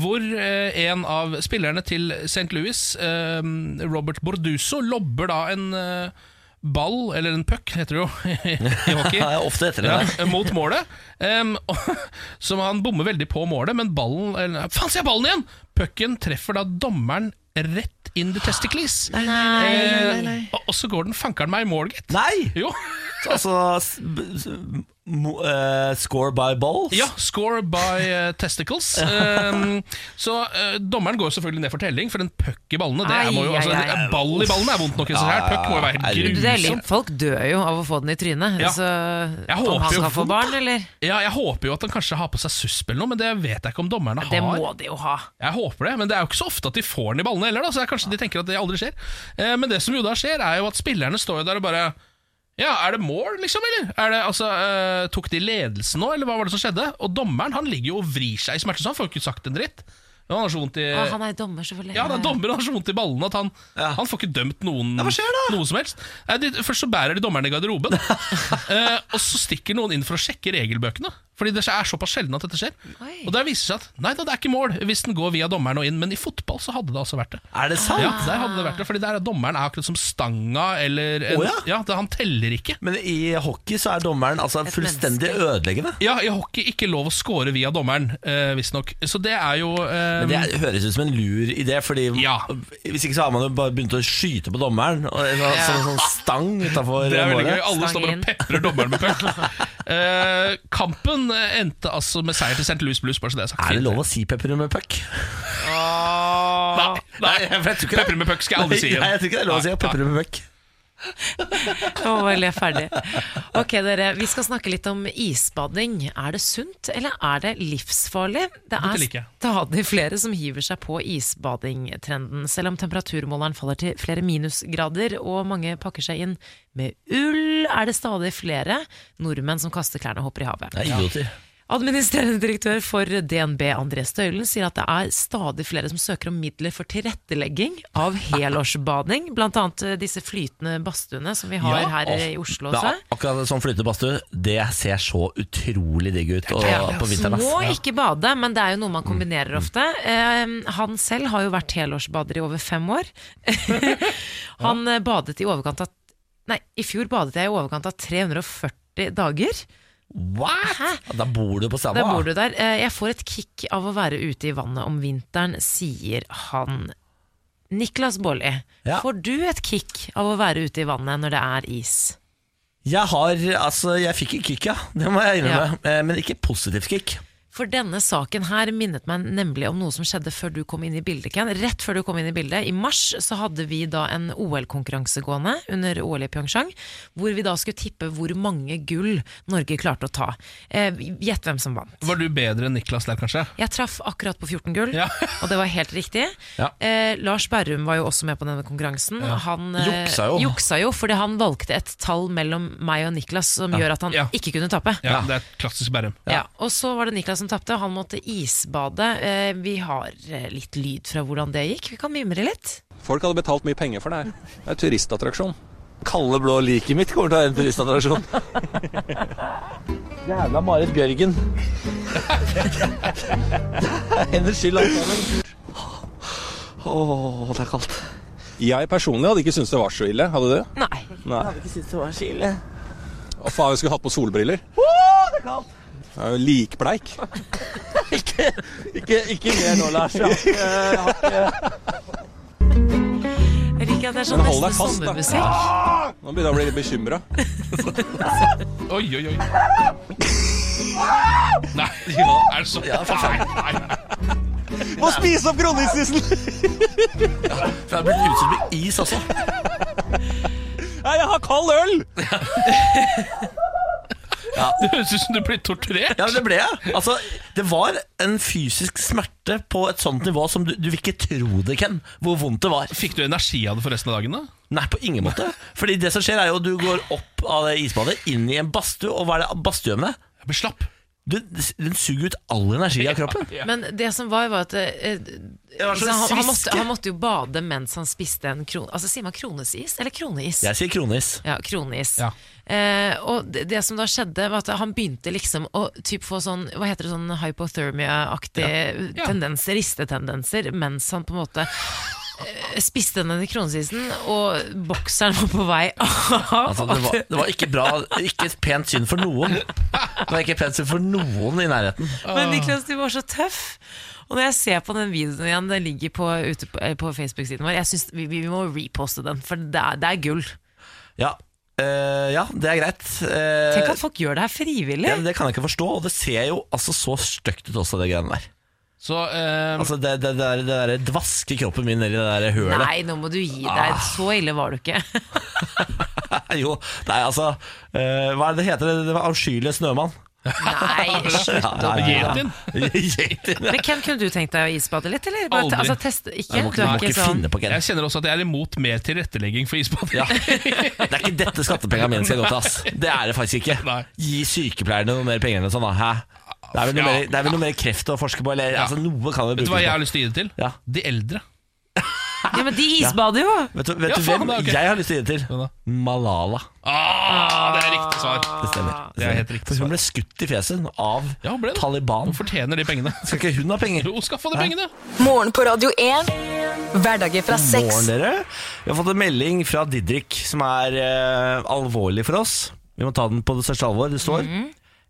Speaker 3: hvor eh, en av spillerne til St. Louis, ehm, Robert Borduso, lobber da en eh, ball, eller en puck, heter det jo i hockey.
Speaker 1: Ja, jeg er ofte etter det. der.
Speaker 3: Ja, eh, mot målet. Em, og- som han bommer veldig på målet, men ballen eller, Faen, se ballen igjen! Pucken treffer da dommeren rett in the testicles. Nei, nei, nei, Eh, Og, og så går den fankeren meg i mål, gitt.
Speaker 1: Nei!
Speaker 3: Jo.
Speaker 1: Altså s- b- s- mo- eh, Score by balls.
Speaker 3: Ja, score by eh, testicles. Em, så eh, dommeren går selvfølgelig ned for telling, for en puck i ballene det er, må jo,
Speaker 2: Ai,
Speaker 3: altså,
Speaker 2: ai, ai.
Speaker 3: Ball i ballene er vondt nok i seg selv. Puck må jo være
Speaker 1: Ja,
Speaker 3: helt
Speaker 1: herregud.
Speaker 2: Det er
Speaker 3: grusomt.
Speaker 2: litt- Folk dør jo av å få den i trynet.
Speaker 3: Ja.
Speaker 2: Så
Speaker 3: Jeg håper
Speaker 2: om han
Speaker 3: jo
Speaker 2: skal få
Speaker 3: vondt.
Speaker 2: barn, eller?
Speaker 3: Ja, jeg håper jo at han kanskje har på seg susp eller noe, men det vet jeg ikke om dommerne
Speaker 2: Det
Speaker 3: har.
Speaker 2: må de jo ha.
Speaker 3: Jeg håper det, men det er jo ikke så ofte at de får den i ballene heller. Da, så det er kanskje de tenker at det aldri skjer. Eh, men det som jo da skjer, er jo at spillerne står jo der og bare ja, er det mål, liksom, eller? Er det, altså, eh, tok de ledelsen nå, eller hva var det som skjedde? Og dommeren han ligger jo og vrir seg i smerte, så han får jo ikke sagt en dritt. Men han har så vondt i
Speaker 2: Å, Ah, han Eh, er dommer, selvfølgelig.
Speaker 3: ja, da, dommeren har så vondt i ballene at han,
Speaker 1: Ja.
Speaker 3: han får ikke dømt noen
Speaker 1: hva skjer da?
Speaker 3: Noe som helst. Nei, de, først så bærer de dommeren i garderoben, eh, og så stikker noen inn for å sjekke regelbøkene. Fordi det er såpass sjelden at dette skjer.
Speaker 2: Oi.
Speaker 3: Og der viser det seg at nei da, det er ikke mål hvis den går via dommeren og inn, men i fotball så hadde det altså vært det.
Speaker 1: Er det sant?
Speaker 3: Ja, der hadde det vært det, fordi der er dommeren er akkurat som stanga eller en,
Speaker 1: Å, ja?
Speaker 3: det, Han teller ikke.
Speaker 1: Men i hockey så er dommeren altså fullstendig ødeleggende.
Speaker 3: Ja, i hockey ikke lov å score via dommeren, eh, visstnok. Så det er jo eh,
Speaker 1: Men det er- høres ut som en lur idé, Fordi
Speaker 3: Ja.
Speaker 1: hvis ikke så har man jo bare begynt å skyte på dommeren. Og en sånn, sånn, sånn stang utafor
Speaker 3: Det er veldig gøy.
Speaker 1: målet.
Speaker 3: Alle
Speaker 2: Stang
Speaker 3: står bare
Speaker 2: inn.
Speaker 3: og peprer dommeren med puck. Eh, kampen eh, endte altså med seier til St. Louis Blues. Bare så det er sagt.
Speaker 1: Er det lov å si pepper med puck?
Speaker 3: Nei, nei.
Speaker 1: jeg vet jo ikke det.
Speaker 3: Pepper Ah, med puck skal jeg aldri si
Speaker 1: Nei,
Speaker 3: igjen.
Speaker 1: jeg tror ikke det er lov å si
Speaker 3: Nei,
Speaker 1: pepper med puck.
Speaker 2: Jeg må bare le ferdig. Ok, dere. Vi skal snakke litt om isbading. Er det sunt, eller er det livsfarlig? Det
Speaker 3: Dette
Speaker 2: er
Speaker 3: liker jeg.
Speaker 2: stadig flere som hiver seg på isbadingtrenden, selv om temperaturmåleren faller til flere minusgrader og mange pakker seg inn med ull, er det stadig flere nordmenn som kaster klærne og hopper i havet.
Speaker 1: Det er idioter.
Speaker 2: Administrerende direktør for DNB André Støylen sier at det er stadig flere som søker om midler for tilrettelegging av helårsbading, bl.a. disse flytende badstuene som vi har
Speaker 3: Ja,
Speaker 2: her eh,
Speaker 1: Åh,
Speaker 2: i Oslo
Speaker 1: men
Speaker 2: også.
Speaker 1: ak- altså, Akkurat sånn flytende badstue, det ser så utrolig digg ut og,
Speaker 2: Ja,
Speaker 1: på vinteren.
Speaker 2: Må
Speaker 1: ass. Mm.
Speaker 2: ikke bade, men det er jo noe man kombinerer ofte. Eh, han selv har jo vært helårsbader i over fem år. han eh, badet i overkant av Nei, i fjor badet jeg i overkant av 340 dager.
Speaker 1: What? Da bor du på Sama.
Speaker 2: Der bor du der. Eh, Jeg får et kick av å være ute i vannet om vinteren, sier han. Niklas Baarli,
Speaker 1: Ja.
Speaker 2: får du et kick av å være ute i vannet når det er is?
Speaker 1: Jeg har, altså, jeg fikk et kick, ja. Det må jeg innrømme. Eh, Men ikke positivt kick.
Speaker 2: For denne saken her minnet meg nemlig om noe som skjedde før du kom inn i bildet, Ken. Rett før du kom inn i bildet, i mars, så hadde vi da en OL-konkurranse gående under OL i Pyeongchang, hvor vi da skulle tippe hvor mange gull Norge klarte å ta. Eh, Gjett hvem som vant.
Speaker 3: Var du bedre enn Niklas der, kanskje?
Speaker 2: Jeg traff akkurat på 14 gull,
Speaker 3: Ja.
Speaker 2: og det var helt riktig.
Speaker 1: Ja.
Speaker 2: Eh, Lars Berrum var jo også med på denne konkurransen. Han eh,
Speaker 1: Juksa jo.
Speaker 2: juksa jo, fordi han valgte et tall mellom meg og Niklas som gjør at han
Speaker 3: Ja.
Speaker 2: ikke kunne tape.
Speaker 3: Ja, Det er klassisk Bærum.
Speaker 2: Ja. Og så var det Niklas som tapte, og han måtte isbade. Eh, vi har eh, litt lyd fra hvordan det gikk. Vi kan mimre litt.
Speaker 5: Folk hadde betalt mye penger for det her. Det er en turistattraksjon. Kalde blå liket mitt kommer til å være en turistattraksjon. Jævla Marit Bjørgen. Det er hennes skyld, alt sammen. Åh, det er kaldt. Jeg personlig hadde ikke syntes det var så ille. Hadde du?
Speaker 2: Nei.
Speaker 5: Nei. Jeg hadde ikke syntes det var så ille. Å faen, vi skulle hatt på solbriller. Åh, det er kaldt. Jeg er jo likbleik.
Speaker 2: Jeg liker at det er sånn
Speaker 5: Men hold deg
Speaker 2: nesten
Speaker 5: fast, da.
Speaker 2: sommermusikk.
Speaker 5: Nå begynner jeg å bli litt bekymra.
Speaker 3: Oi, oi, oi. Nei, er det sånn? Nei, nei.
Speaker 5: Må spise opp kronisisen!
Speaker 1: For jeg har blitt utsatt med is også.
Speaker 5: Nei, jeg har kald øl!
Speaker 3: Det høres ut som du blir torturert.
Speaker 1: Ja, men det ble jeg. Altså, det var en fysisk smerte på et sånt nivå som du, du vil ikke tro det, Ken. Hvor vondt det var.
Speaker 3: Fikk du energi av det for resten av dagen? da?
Speaker 1: Nei, på ingen måte. Fordi det som skjer, er jo at du går opp av det isbadet, inn i en badstue, og hva er det badstue med?
Speaker 3: Jeg ble slapp.
Speaker 1: Du, den suger ut all energi av kroppen.
Speaker 2: Men det som var, var at eh,
Speaker 1: var
Speaker 2: altså,
Speaker 1: sånn
Speaker 2: han, han, måtte,
Speaker 1: sviske.
Speaker 2: han måtte jo bade mens han spiste en kron... Altså, sier man kronesis eller kroneis?
Speaker 1: Jeg sier kronis.
Speaker 2: Ja, kronis.
Speaker 3: Ja.
Speaker 2: Eh, og det, det som da skjedde, var at han begynte liksom å typ få sånn Hva heter det, sånn hypothermia-aktige
Speaker 3: Ja.
Speaker 2: tendenser, ristetendenser, mens han på en måte eh, spiste den i kronesisen, og bokseren var på vei av.
Speaker 1: Altså, det, var, det var ikke bra, ikke et pent syn for noen. Det var ikke et pent syn for noen i nærheten.
Speaker 2: Men Niklas, du var så tøff. Og når jeg ser på den videoen igjen, den ligger på, ute på, eh, på Facebook-siden vår, jeg synes vi, vi må reposte den, for det er, det er gull.
Speaker 1: Ja, Eh, ja det er greit. Eh,
Speaker 2: Tenk at folk gjør det her frivillig.
Speaker 1: ja, men det kan jeg ikke forstå, og det ser jo altså så stygt ut også, det greiene der.
Speaker 3: Så eh,
Speaker 1: Altså, det, det, det, der, det der dvasker kroppen min ned i det Ah. der hølet.
Speaker 2: Nei, nå må du gi deg. Så ille var du ikke.
Speaker 1: Jo, nei, altså eh, Hva er det det heter? Det- Det var avskyelige snømann.
Speaker 2: Nei, slutt å
Speaker 1: Nei, nei, nei.
Speaker 3: Yetin.
Speaker 1: Yetin.
Speaker 2: Men Ken, kunne du tenkt deg å isbade litt, eller? Bare,
Speaker 3: Aldri.
Speaker 2: Altså, teste, ikke?
Speaker 1: Nei, Du må
Speaker 2: Du
Speaker 1: ikke,
Speaker 2: er
Speaker 1: du må ikke
Speaker 2: sånn-
Speaker 1: finne på Ken.
Speaker 3: Jeg kjenner også at jeg er imot mer tilrettelegging for isbading.
Speaker 1: Ja. Det er ikke dette skattepengene mine skal gå til, ass. Det er det faktisk ikke.
Speaker 3: Nei.
Speaker 1: Gi sykepleierne noe mer penger enn sånn, da. Hæ? Det er vel noe,
Speaker 3: Ja.
Speaker 1: mer, det er vel noe mer kreft å forske på, eller
Speaker 3: Ja.
Speaker 1: altså, noe kan vi
Speaker 3: Vet du hva jeg har
Speaker 1: bruke på.
Speaker 3: lyst til å gi det til?
Speaker 1: Ja.
Speaker 3: De eldre.
Speaker 2: Ja, men de isbader jo!
Speaker 1: Vet du, vet
Speaker 3: Ja,
Speaker 1: du
Speaker 3: faen,
Speaker 1: hvem
Speaker 3: det er ok.
Speaker 1: jeg har lyst til å gi det
Speaker 3: Hvem da?
Speaker 1: til? Malala.
Speaker 3: Ah, det er riktig svar.
Speaker 1: Det stemmer.
Speaker 3: Ah, Det er helt riktig
Speaker 1: For hun ble skutt i fjeset av
Speaker 3: Ja, hun ble det.
Speaker 1: Taliban.
Speaker 3: Hun fortjener de pengene.
Speaker 1: Skal ikke hun ha penger?
Speaker 3: Jo, skaffa
Speaker 1: Hæ?
Speaker 3: de pengene!
Speaker 4: Morgen på Radio 1. Hverdager fra
Speaker 1: Morgen,
Speaker 4: seks.
Speaker 1: dere. Vi har fått en melding fra Didrik som er eh, alvorlig for oss. Vi må ta den på det største alvor. Det står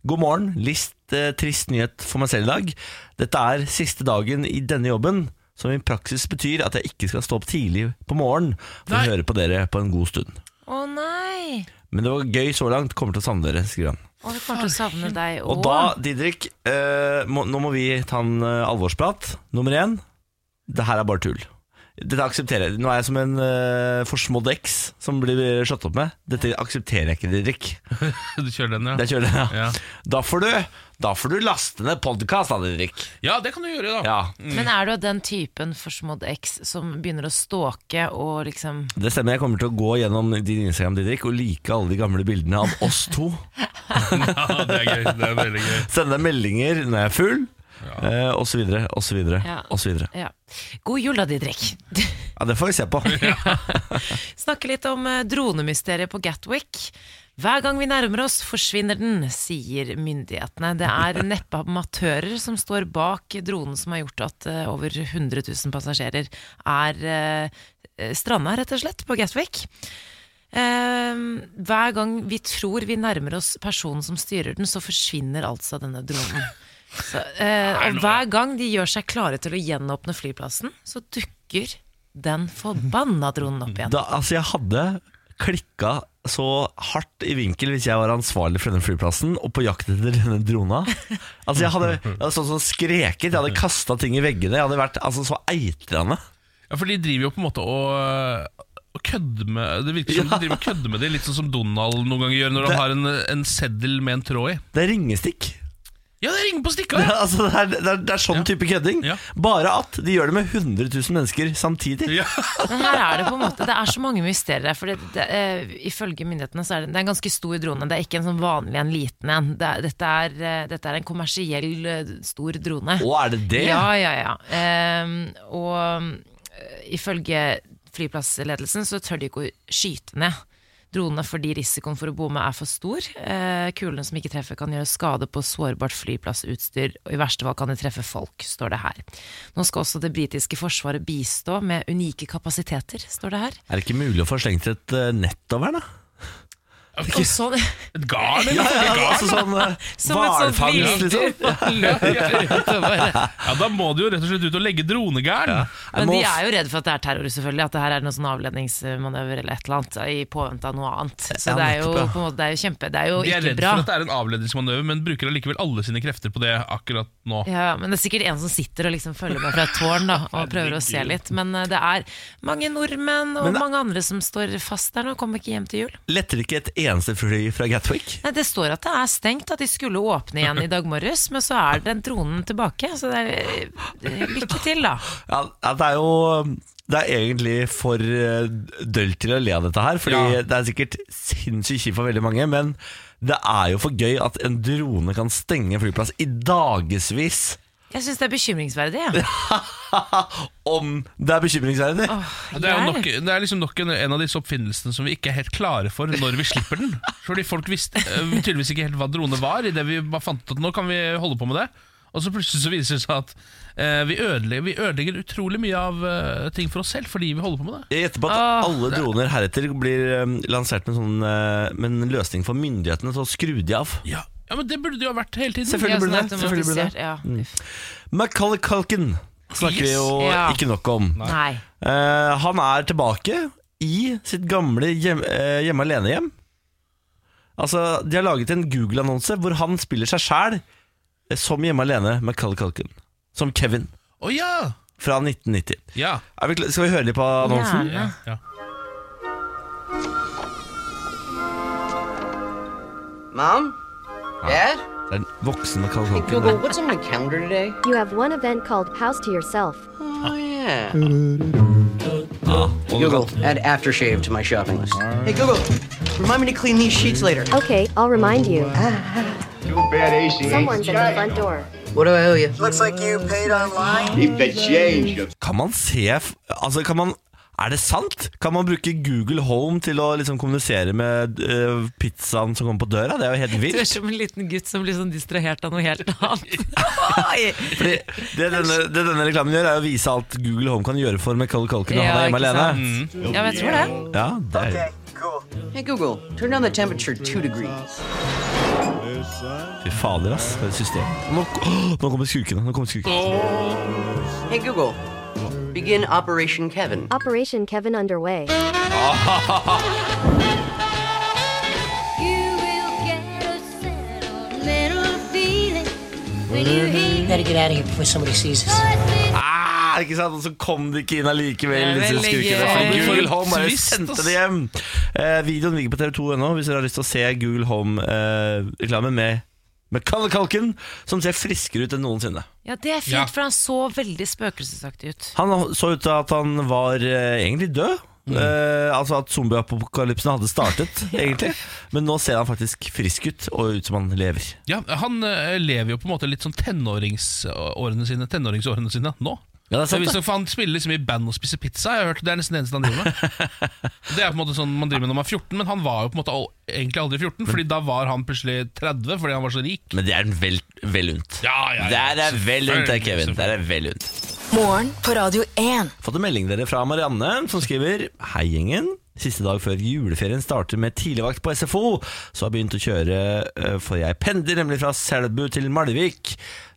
Speaker 1: God morgen. List eh, trist nyhet for meg selv i dag. Dette er siste dagen i denne jobben, som i praksis betyr at jeg ikke skal stå opp tidlig på morgenen for
Speaker 3: Nei.
Speaker 1: å høre på dere på en god stund.
Speaker 2: Å nei!
Speaker 1: Men det var gøy så langt. Kommer til å savne dere, skriver han.
Speaker 2: Å, vi kommer til å savne deg
Speaker 1: Og
Speaker 2: òg.
Speaker 1: da, Didrik, eh, må, nå må vi ta en eh, alvorsprat. Nummer én, det her er bare tull. Dette aksepterer jeg Nå er jeg som en uh, forsmådd eks som blir slått opp med. Dette aksepterer jeg ikke, Didrik.
Speaker 3: Du kjører den, ja.
Speaker 1: Det kjører jeg, ja.
Speaker 3: Ja.
Speaker 1: Da, får du, da får du laste ned podkast, da, Didrik.
Speaker 3: Ja, det kan du gjøre, da.
Speaker 1: Ja,
Speaker 2: Men er du av den typen forsmådd eks som begynner å stalke og liksom
Speaker 1: det stemmer. Jeg kommer til å gå gjennom din Instagram, Didrik, og like alle de gamle bildene av oss to.
Speaker 3: Ja, det er gøy. Det er veldig gøy.
Speaker 1: Sende deg meldinger når jeg er full. eh, Og så videre, og så videre.
Speaker 2: Ja.
Speaker 1: Og så videre.
Speaker 2: ja. God jul da, Didrik.
Speaker 1: Ja, det får vi se på.
Speaker 2: Snakke litt om eh, dronemysteriet på Gatwick. Hver gang vi nærmer oss, forsvinner den, sier myndighetene. Det er neppe amatører som står bak dronen som har gjort at eh, over 100 000 passasjerer er eh, stranda, rett og slett, på Gatwick. Eh, hver gang vi tror vi nærmer oss personen som styrer den, så forsvinner altså denne dronen. Så, eh, og hver gang de gjør seg klare til å gjenåpne flyplassen, så dukker den forbanna dronen opp igjen.
Speaker 1: Da, altså, jeg hadde klikka så hardt i vinkel hvis jeg var ansvarlig for denne flyplassen og på jakt etter denne drona. Altså, jeg hadde, jeg hadde sånn som skreket, jeg hadde kasta ting i veggene, jeg hadde vært altså, så eitrende.
Speaker 3: Ja, for de driver jo på en måte og og kødde med Det virker som
Speaker 1: Ja.
Speaker 3: de driver og kødder med det, litt sånn som Donald noen ganger gjør når
Speaker 1: Det-
Speaker 3: han har en, en seddel med en tråd i.
Speaker 1: Det er ringestikk.
Speaker 3: Ja, det ringer på stikka!
Speaker 1: Det
Speaker 3: Ja.
Speaker 1: er, altså, det er, det er, det er sånn
Speaker 3: Ja.
Speaker 1: type kødding.
Speaker 3: Ja.
Speaker 1: Bare at de gjør det med 100 000 mennesker samtidig.
Speaker 3: Ja.
Speaker 2: Men her er det på en måte Det er så mange mysterier her. For det, det, eh, ifølge myndighetene så er det, det er en ganske stor drone. Det er ikke en sånn vanlig en, liten en. Det, er- dette, er, eh, dette er en kommersiell eh, stor drone.
Speaker 1: Å, er det det?
Speaker 2: Ja, ja, ja. Ehm, og eh, ifølge flyplassledelsen så tør de ikke å skyte ned dronene fordi risikoen for å bomme er for stor. Eh, kulene som ikke treffer kan gjøre skade på sårbart flyplassutstyr, og i verste fall kan de treffe folk, står det her. Nå skal også det britiske forsvaret bistå med unike kapasiteter, står det her.
Speaker 1: Er det ikke mulig å få slengt et eh, nett over den, da?
Speaker 2: Og sånn,
Speaker 3: Et garn, eller?
Speaker 1: altså sånn eh,
Speaker 2: som et sånt
Speaker 1: hvalfangst, liksom.
Speaker 2: vildyr.
Speaker 3: Ja, da må du jo rett og slett ut og legge dronegarn.
Speaker 1: Jeg
Speaker 2: Men
Speaker 1: må
Speaker 2: de er jo redde for at det er terror, selvfølgelig. At det her er noen sånn avledningsmanøver eller et eller annet, i påvente av noe annet. Så
Speaker 1: Ja,
Speaker 2: det er jo
Speaker 1: nettopp, ja.
Speaker 2: på en måte, det er jo kjempe Det er jo
Speaker 3: De er
Speaker 2: ikke
Speaker 3: redd
Speaker 2: bra.
Speaker 3: for at det er en avledningsmanøver, men bruker allikevel alle sine krefter på det akkurat nå.
Speaker 2: Ja, men det er sikkert en som sitter og liksom følger med fra et tårn da, og prøver å se litt. Men eh, det er mange nordmenn og
Speaker 1: Men det-
Speaker 2: mange andre som står fast der nå, kommer ikke hjem til jul.
Speaker 1: Letter ikke et eneste fly fra Gatwick?
Speaker 2: Nei, Det står at det er stengt, at de skulle åpne igjen i dag morges, men så er den dronen tilbake. Så det er eh, lykke til, da.
Speaker 1: Ja, ja, det er jo Det er egentlig for eh, dølt til å le av dette her, Fordi
Speaker 3: Ja.
Speaker 1: det er sikkert sinnssykt kjipt for veldig mange. Men det er jo for gøy at en drone kan stenge en flyplass i dagevis.
Speaker 2: Jeg syns det er bekymringsverdig. Ja.
Speaker 1: Om det er bekymringsverdig.
Speaker 2: Åh,
Speaker 3: Det er, jo
Speaker 2: jeg-
Speaker 3: nok, det er liksom nok en, en av disse oppfinnelsene som vi ikke er helt klare for når vi slipper den. Fordi folk visste eh, tydeligvis ikke helt hva drone var, i det vi bare fant ut at nå kan vi holde på med det. Og så plutselig så viser det seg at eh, vi, ødelegger, vi ødelegger utrolig mye av eh, ting for oss selv fordi vi holder på med det.
Speaker 1: Jeg gjetter på at alle droner heretter blir eh, lansert med, sånn, eh, med en løsning for myndighetene til å skru de av.
Speaker 3: Ja, men Det burde det jo ha vært hele tiden.
Speaker 1: Selvfølgelig
Speaker 2: Ja,
Speaker 1: burde
Speaker 2: sånn
Speaker 1: det, selvfølgelig burde det. Mm.
Speaker 2: automatisert, Ja. Uff.
Speaker 1: Macaulay Culkin snakker vi
Speaker 3: Yes.
Speaker 1: jo
Speaker 2: Ja.
Speaker 1: ikke nok om.
Speaker 2: Nei.
Speaker 1: Eh, han er tilbake i sitt gamle hjem, eh, hjemme alene-hjem. Altså, de har laget en Google-annonse hvor han spiller seg sjæl som hjemme alene med Cull Culkin. Som Kevin
Speaker 3: Å ja!
Speaker 1: fra 1990.
Speaker 3: Ja.
Speaker 1: Er vi kla- Skal vi høre litt på annonsen?
Speaker 2: Gjerne.
Speaker 3: ja.
Speaker 6: Mom? Dad?
Speaker 1: Det er en voksen med Cull
Speaker 6: Yo,
Speaker 1: Culkin.
Speaker 6: but what's on my calendar today?
Speaker 7: You have one event called House to Yourself.
Speaker 6: Oh, yeah.
Speaker 1: Og
Speaker 6: Google, add aftershave to my shopping list. Hey, Google, remind me to clean these sheets later.
Speaker 7: Okay, I'll remind you. Someone's at the front door.
Speaker 6: What do I owe you? Looks like
Speaker 1: Kan man se f- Altså, kan man er det sant? Kan man bruke Google Home til å liksom kommunisere med eh, pizzaen som kommer på døra? Det er jo helt
Speaker 2: Du er
Speaker 1: vilt.
Speaker 2: som en liten gutt som blir sånn distrahert av noe helt annet. Oi!
Speaker 1: Fordi det denne, det denne reklamen gjør, er å vise alt Google Home kan gjøre for Macaulay Culkin når
Speaker 2: Ja,
Speaker 1: han er hjemme
Speaker 2: ikke
Speaker 1: alene.
Speaker 2: sant?
Speaker 1: Mm.
Speaker 2: Ja, men jeg tror det.
Speaker 1: Ja, det er
Speaker 6: Hey, Google, turn down the temperature two degrees.
Speaker 1: Fy fader, ass. For et system. Nå, åh, nå kommer skurkene. Nå kommer skurkene.
Speaker 6: Hey, Google, begin Operation Kevin.
Speaker 7: Operation Kevin underway.
Speaker 8: Better get out of here before somebody sees us.
Speaker 1: Ah, der, ikke sant? Og så kom de ikke inn allikevel.
Speaker 2: Det er
Speaker 1: disse
Speaker 2: veldig
Speaker 1: skurkene,
Speaker 2: gøy.
Speaker 1: fordi Google Home bare
Speaker 3: Twist,
Speaker 1: sendte
Speaker 3: ass.
Speaker 1: det hjem. Eh, videoen ligger på TV2 ennå, hvis dere har lyst til å se Google Home-reklame med Macaulay Culkin, som ser friskere ut enn noensinne.
Speaker 2: Ja, det er fint,
Speaker 3: Ja.
Speaker 2: for han så veldig spøkelsesaktig ut.
Speaker 1: Han så ut til at han var eh, egentlig død.
Speaker 3: Mm.
Speaker 1: Eh, altså at zombieapokalypsen hadde startet, egentlig. Men nå ser han faktisk frisk ut, og ut som han lever.
Speaker 3: Ja, Han eh, lever jo på en måte litt sånn tenåringsårene sine, tenåringsårene sine nå.
Speaker 1: Ja, det er
Speaker 3: Så
Speaker 1: sant,
Speaker 3: hvis
Speaker 1: det.
Speaker 3: han- han spiller liksom i band og spiser pizza, jeg har hørt det er nesten det eneste han driver med. Det er på en måte sånn man driver med når man er 14, men han var jo på en måte al- egentlig aldri 14, Fordi da var han plutselig 30 fordi han var så rik.
Speaker 1: Men det er en vel, vel unt.
Speaker 3: Ja, ja, ja.
Speaker 1: Det er en vel unt, det,
Speaker 3: Selvfølgelig,
Speaker 1: Kevin. Det er
Speaker 3: selvfølgelig.
Speaker 1: en vel unt.
Speaker 4: Morgen på Radio 1.
Speaker 1: Fått en melding dere fra Marianne som skriver Hei gjengen, siste dag før juleferien starter med tidligvakt på SFO Så har jeg begynt å kjøre, eh, for jeg pendler nemlig fra Selbu til Malvik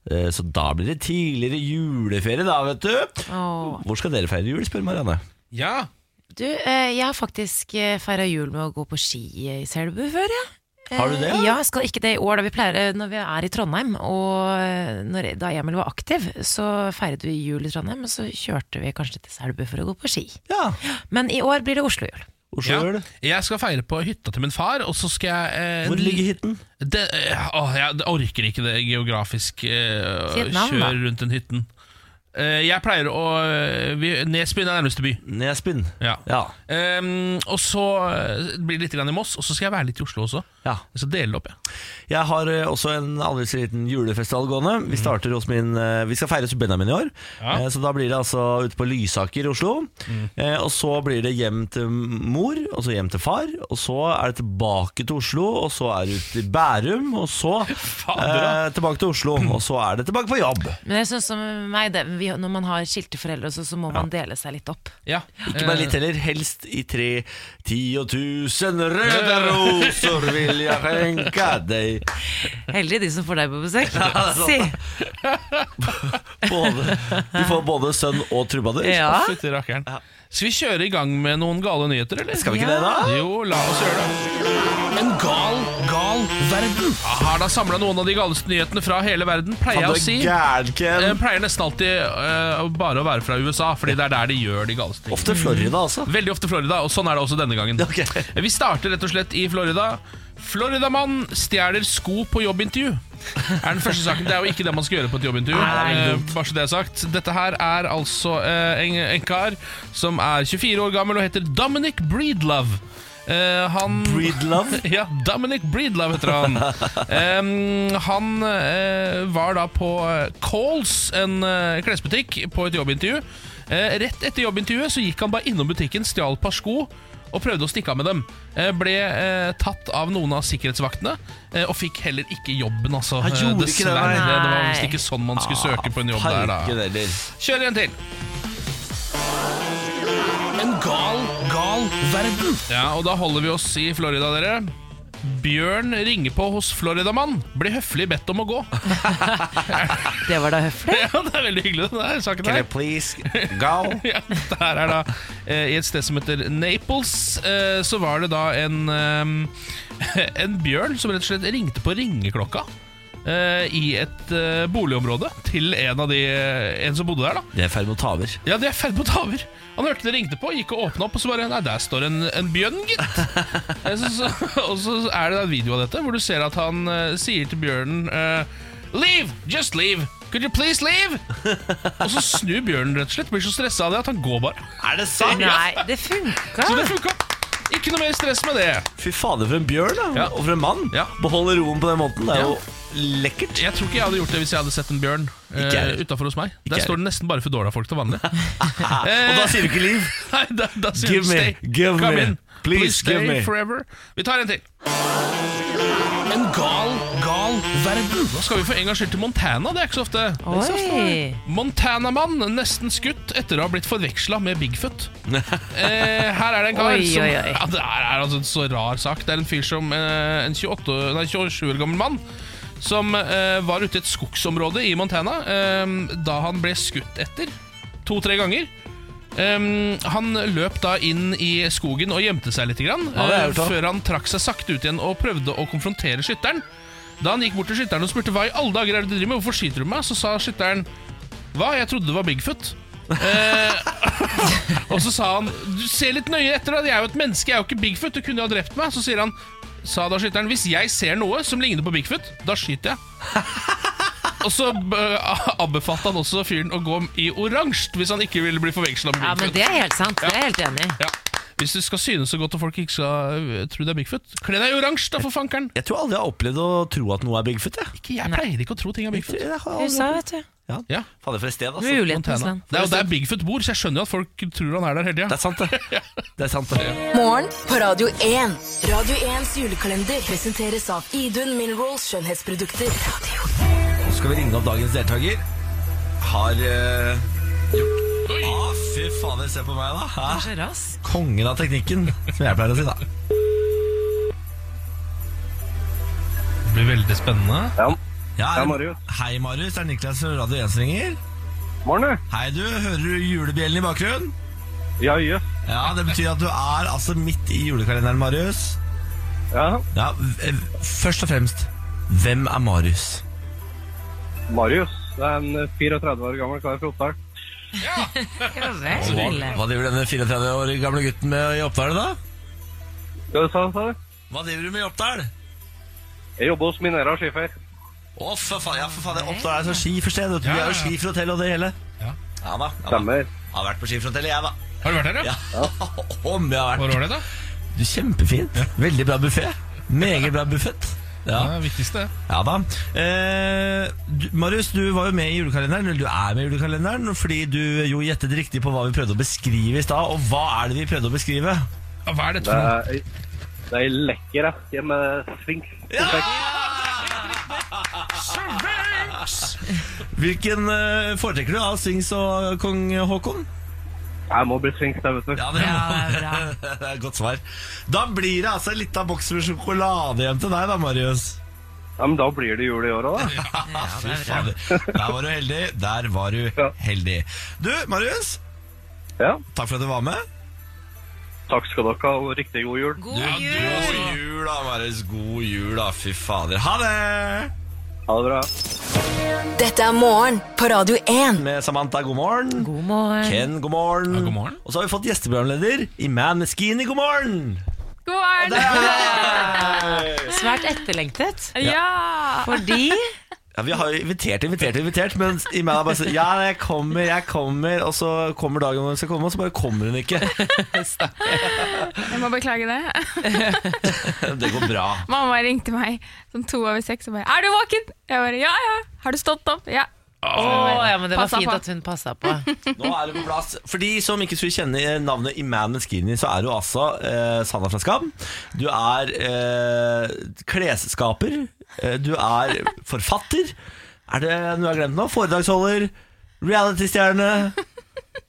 Speaker 1: Eh, Så da blir det tidligere juleferie da, vet du
Speaker 2: Åh.
Speaker 1: Hvor skal dere feire jul, spør Marianne
Speaker 3: Ja,
Speaker 2: Du, eh, jeg har faktisk feira jul med å gå på ski i Selbu før, jeg. Eh,
Speaker 1: Har du det?
Speaker 2: Ja, jeg skal ikke det i år. Da vi pleier, eh, når vi er i Trondheim, og eh, når, da Emil var aktiv, så feiret vi jul i Trondheim, og så kjørte vi kanskje til Selbu for å gå på ski.
Speaker 1: Ja,
Speaker 2: Men i år blir det Oslo-jul.
Speaker 1: Oslo
Speaker 3: ja.
Speaker 1: gjør det
Speaker 3: Jeg skal feire på hytta til min far, og så skal jeg eh,
Speaker 1: Hvor ligger hytten?
Speaker 3: Det, eh, åh, jeg orker ikke det geografisk eh,
Speaker 2: Si et navn,
Speaker 3: kjør
Speaker 2: da.
Speaker 3: rundt den hytten. Eh, jeg pleier å eh, vi- Nesbyen er nærmeste by.
Speaker 1: Nesbyen
Speaker 3: Ja.
Speaker 1: Ja,
Speaker 3: Ehm, og så eh, blir det litt grann i Moss, og så skal jeg være litt i Oslo også.
Speaker 1: ja.
Speaker 3: Jeg skal dele det opp, jeg.
Speaker 1: Jeg har eh, også en aldri så liten julefestival gående. Vi starter hos min eh, Vi skal feire Benjamin i år.
Speaker 3: Mm. Ja. Mm.
Speaker 1: Eh, Så da blir det altså ute på Lysaker i Oslo. Eh, Og så blir det hjem til mor, og så hjem til far. Og så er det tilbake til Oslo, og så er det ut i Bærum, og så
Speaker 3: Fader,
Speaker 1: eh, tilbake til Oslo. Og så er det tilbake på jobb.
Speaker 2: Men jeg synes som meg, det, vi, når man har skilte foreldre, så, så må man dele seg litt opp.
Speaker 3: Ja.
Speaker 1: Ikke
Speaker 3: Eh.
Speaker 1: bare litt heller, helst i tre Ti og tusen røde roser vil jeg skjenke deg.
Speaker 2: Heldig de som får deg på besøk. Si.
Speaker 1: Både, du får både sønn og trubadur.
Speaker 2: Ja.
Speaker 3: Fytti rakkeren. Skal vi kjøre i gang med noen gale nyheter, eller?
Speaker 1: Skal vi ikke det, da?
Speaker 3: Jo, la oss gjøre det. En gal, gal verden. Jeg har da samla noen av de galeste nyhetene fra hele verden, pleier jeg å si.
Speaker 1: Gæren, Ken.
Speaker 3: Jeg pleier nesten alltid eh, bare å være fra USA, fordi det er der de gjør de galeste tingene.
Speaker 1: Ofte Florida, altså.
Speaker 3: Veldig ofte Florida, og sånn er det også denne gangen. Eh,
Speaker 1: Ok.
Speaker 3: Vi starter rett og slett i Florida. Floridamann stjeler sko på jobbintervju. Er den første saken, Det er jo ikke det man skal gjøre på et jobbintervju.
Speaker 1: Nei, det er
Speaker 3: eh, bare så det er sagt Dette her er altså eh, en, en kar som er 24 år gammel og heter Dominic Breedlove. Eh, han
Speaker 1: Breedlove?
Speaker 3: Ja, Dominic Breedlove heter han. Em, han eh, var da på eh, Calls, en eh, klesbutikk, på et jobbintervju. Eh, rett etter jobbintervjuet så gikk han bare innom butikken, stjal et par sko og prøvde å stikke av med dem. Eh, ble eh, tatt av noen av sikkerhetsvaktene eh, og fikk heller ikke jobben, altså.
Speaker 1: Han gjorde
Speaker 3: Eh,
Speaker 1: ikke det, nei. Ah,
Speaker 3: Dessverre. Det var visst ikke sånn man skulle søke på en jobb der, da.
Speaker 1: Parken eller
Speaker 3: Kjør en til. En gal, gal verden. Ja, og da holder vi oss i Florida, dere. Bjørn ringer på hos Floridamann. Blir høflig bedt om å gå.
Speaker 2: Det var da høflig.
Speaker 3: Ja, det er veldig hyggelig, den der saken
Speaker 1: Can I
Speaker 3: her.
Speaker 1: please go?
Speaker 3: Ja, det her er da eh, I et sted som heter Naples, eh, så var det da en eh, En bjørn som rett og slett ringte på ringeklokka. eh, I et eh, boligområde til en av de eh, En som bodde der, da.
Speaker 1: Det er i ferd med å ta over.
Speaker 3: Ja, de er i ferd med å ta over. Han hørte det ringte på, gikk og åpna opp, og så bare Nei, der står en, en bjørn, gitt. Eh, så, så, og så er det da en video av dette, hvor du ser at han eh, sier til bjørnen eh, Leave! Just leave! Could you please leave? Og så snur bjørnen rett og slett, blir så stressa av det at han går bare.
Speaker 1: Er det sant?
Speaker 2: Nei, det funka.
Speaker 3: Så det funka. Ikke noe mer stress med det.
Speaker 1: Fy fader, for en bjørn da.
Speaker 3: Ja.
Speaker 1: og for en mann.
Speaker 3: Ja.
Speaker 1: Beholde roen på den måten. Det er
Speaker 3: Ja.
Speaker 1: jo lekkert.
Speaker 3: Jeg tror ikke jeg hadde gjort det hvis jeg hadde sett en bjørn
Speaker 1: Ikke jeg
Speaker 3: uh,
Speaker 1: heller.
Speaker 3: utafor hos meg. Der
Speaker 1: jeg
Speaker 3: står det nesten bare Foodora-folk til vanlig. Eh.
Speaker 1: Og da sier du ikke liv.
Speaker 3: Nei, da, da sier
Speaker 1: Give
Speaker 3: du
Speaker 1: me,
Speaker 3: stay.
Speaker 1: give
Speaker 3: Kom
Speaker 1: me.
Speaker 3: inn.
Speaker 1: Please
Speaker 3: stay
Speaker 1: give me.
Speaker 3: forever. Vi tar en til. En gal, gal verden. Nå skal vi for en gangs skyld til Montana. Det er ikke så ofte.
Speaker 2: Oi.
Speaker 3: Montanamann nesten skutt etter å ha blitt forveksla med Bigfoot. Eh, her er det en kar
Speaker 2: Oi,
Speaker 3: som
Speaker 2: oi, oi.
Speaker 3: Ja, Det her er altså en så rar sak. Det er en fyr som eh, En 28, nei, 27 år gammel mann som eh, var ute i et skogsområde i Montana eh, da han ble skutt etter. To-tre ganger. Eh, han løp da inn i skogen og gjemte seg litt, grann,
Speaker 1: Ja, det er
Speaker 3: eh,
Speaker 1: jo klart.
Speaker 3: før han trakk seg sakte ut igjen og prøvde å konfrontere skytteren. Da han gikk bort til skytteren og spurte hva i alle dager er det du driver med, hvorfor skyter du meg, så sa skytteren hva, jeg trodde det var Bigfoot. Eh, og så sa han Du ser litt nøye etter, da. Jeg er jo et menneske, jeg er jo ikke Bigfoot. Du kunne jo ha drept meg. Så sier han Sa da skytteren hvis jeg ser noe som ligner på Bigfoot, da skyter jeg. Og så eh, anbefalte han også fyren å gå i oransje hvis han ikke ville bli forveksla med
Speaker 2: Ja, men
Speaker 3: Bigfoot.
Speaker 2: Det er helt sant. Det er jeg helt enig i.
Speaker 3: Ja. Hvis du skal synes så godt og folk ikke skal øh, tro det er Bigfoot, kle deg i oransje, da, for fankeren!
Speaker 1: Jeg tror aldri jeg har opplevd å tro at noe er Bigfoot. Jeg.
Speaker 3: Ikke, jeg pleier ikke å tro ting er
Speaker 1: Jeg tror-
Speaker 3: Bigfoot.
Speaker 1: jeg har aldri-
Speaker 2: USA, vet du.
Speaker 1: Ja.
Speaker 3: Ja,
Speaker 1: Fader, for et sted, altså.
Speaker 2: Mulighetenes
Speaker 3: Montana.
Speaker 2: land.
Speaker 3: Det er jo der Bigfoot bor, så jeg skjønner jo at folk tror han er der hele
Speaker 1: Det er
Speaker 3: tida.
Speaker 1: sant, det. Det er sant, det.
Speaker 4: Morgen på Radio 1. Radio 1s julekalender presenteres av Idun Minerals skjønnhetsprodukter.
Speaker 1: Nå skal vi ringe opp dagens deltaker. Har eh, gjort Å, fy fader, se på meg, da. Hæ?
Speaker 2: Så rask.
Speaker 1: Kongen av teknikken, som jeg pleier å si, da.
Speaker 3: Det blir veldig spennende.
Speaker 1: Ja,
Speaker 8: Ja, Marius.
Speaker 1: Hei, Marius. Det er Niklas fra Radio 1 som ringer.
Speaker 8: Morgen, du.
Speaker 1: Hei, du. Hører du julebjellen i bakgrunnen?
Speaker 8: Ja, jøss.
Speaker 1: Ja, Det betyr at du er altså midt i julekalenderen, Marius.
Speaker 8: Ja.
Speaker 1: Ja, v- eh, Først og fremst, hvem er Marius?
Speaker 8: Marius. Det er en eh, 34 år gammel kar fra Oppdal.
Speaker 2: Ja vel.
Speaker 1: Hva, hva driver denne 34 år gamle gutten med i Oppdal, da?
Speaker 8: Hva du sa du? sa du?
Speaker 1: Hva driver du med i Oppdal?
Speaker 8: Jeg jobber hos Minera skifer.
Speaker 1: Å, for faen, ja, for faen, jeg Oppdal er så skiforsted. vet du. Vi
Speaker 3: Ja,
Speaker 1: er
Speaker 3: ja,
Speaker 1: jo
Speaker 3: ja.
Speaker 1: skifrotell og det hele. Ja
Speaker 3: Ja.
Speaker 1: da. ja da.
Speaker 8: Stemmer.
Speaker 1: Jeg har vært på skifrotellet, jeg, da.
Speaker 3: Har du vært der, ja?
Speaker 1: Ja. Om jeg har
Speaker 3: Hvor
Speaker 1: vært.
Speaker 3: var det, da?
Speaker 1: Du, Kjempefint. Veldig bra buffé. Meget bra buffett. Ja.
Speaker 3: Det er det viktigste.
Speaker 1: Ja da. Eh, du, Marius, du var jo med i julekalenderen, eller du er med i julekalenderen, fordi du jo gjettet riktig på hva vi prøvde å beskrive i stad. Og hva er det vi prøvde å beskrive?
Speaker 3: Ja, Hva er dette
Speaker 8: Det
Speaker 3: for noe?
Speaker 8: er, det er ei lekker eske med sfinks.
Speaker 1: Hvilken eh, foretrekker du av Sphinx og kong Haakon?
Speaker 8: Jeg må bli sfinks, jeg, vet du.
Speaker 1: det,
Speaker 2: Ja, det er bra.
Speaker 1: det er et godt svar. Da blir det altså en liten boks med sjokolade igjen til deg, da, Marius.
Speaker 8: Ja, men da blir det jul i år òg, da.
Speaker 1: Fy fader. Der var du heldig. Der var du
Speaker 8: Ja.
Speaker 1: heldig. Du, Marius,
Speaker 8: Ja.
Speaker 1: takk for at du var med.
Speaker 8: Takk skal dere ha, og riktig god jul.
Speaker 2: God
Speaker 1: Ja,
Speaker 2: jul!
Speaker 1: God jul, da, Marius. God jul, da. Fy fader. Ha det!
Speaker 8: Ha det bra.
Speaker 4: Dette er morgen på Radio 1.
Speaker 1: Med Samantha, god morgen.
Speaker 2: God morgen.
Speaker 1: Ken, god morgen.
Speaker 3: Ja, god morgen.
Speaker 1: Og så har vi fått gjesteprogramleder i Maneskin i God morgen.
Speaker 9: God morgen!
Speaker 2: Svært etterlengtet.
Speaker 9: Ja!
Speaker 2: Fordi
Speaker 1: Ja, Vi har jo invitert, invitert, invitert, men i meg er det bare sånn Ja, jeg kommer, jeg kommer, og så kommer dagen når hun skal komme, og så bare kommer hun ikke.
Speaker 9: Jeg må beklage det.
Speaker 1: Det går bra.
Speaker 9: Mamma ringte meg sånn to over seks og bare 'Er du våken?' Jeg bare 'Ja, ja'. 'Har du stått opp?' Ja.
Speaker 2: Å ja, men det var
Speaker 9: Passa
Speaker 2: fint
Speaker 9: på.
Speaker 2: at hun passa på.
Speaker 1: Nå er det på plass. For de som ikke skulle kjenne navnet Iman Skini, så er du altså eh, Sanna fra Skam. Du er eh, klesskaper. Eh, Du er forfatter. Er det noe jeg har glemt nå? Foredragsholder. Reality-stjerne.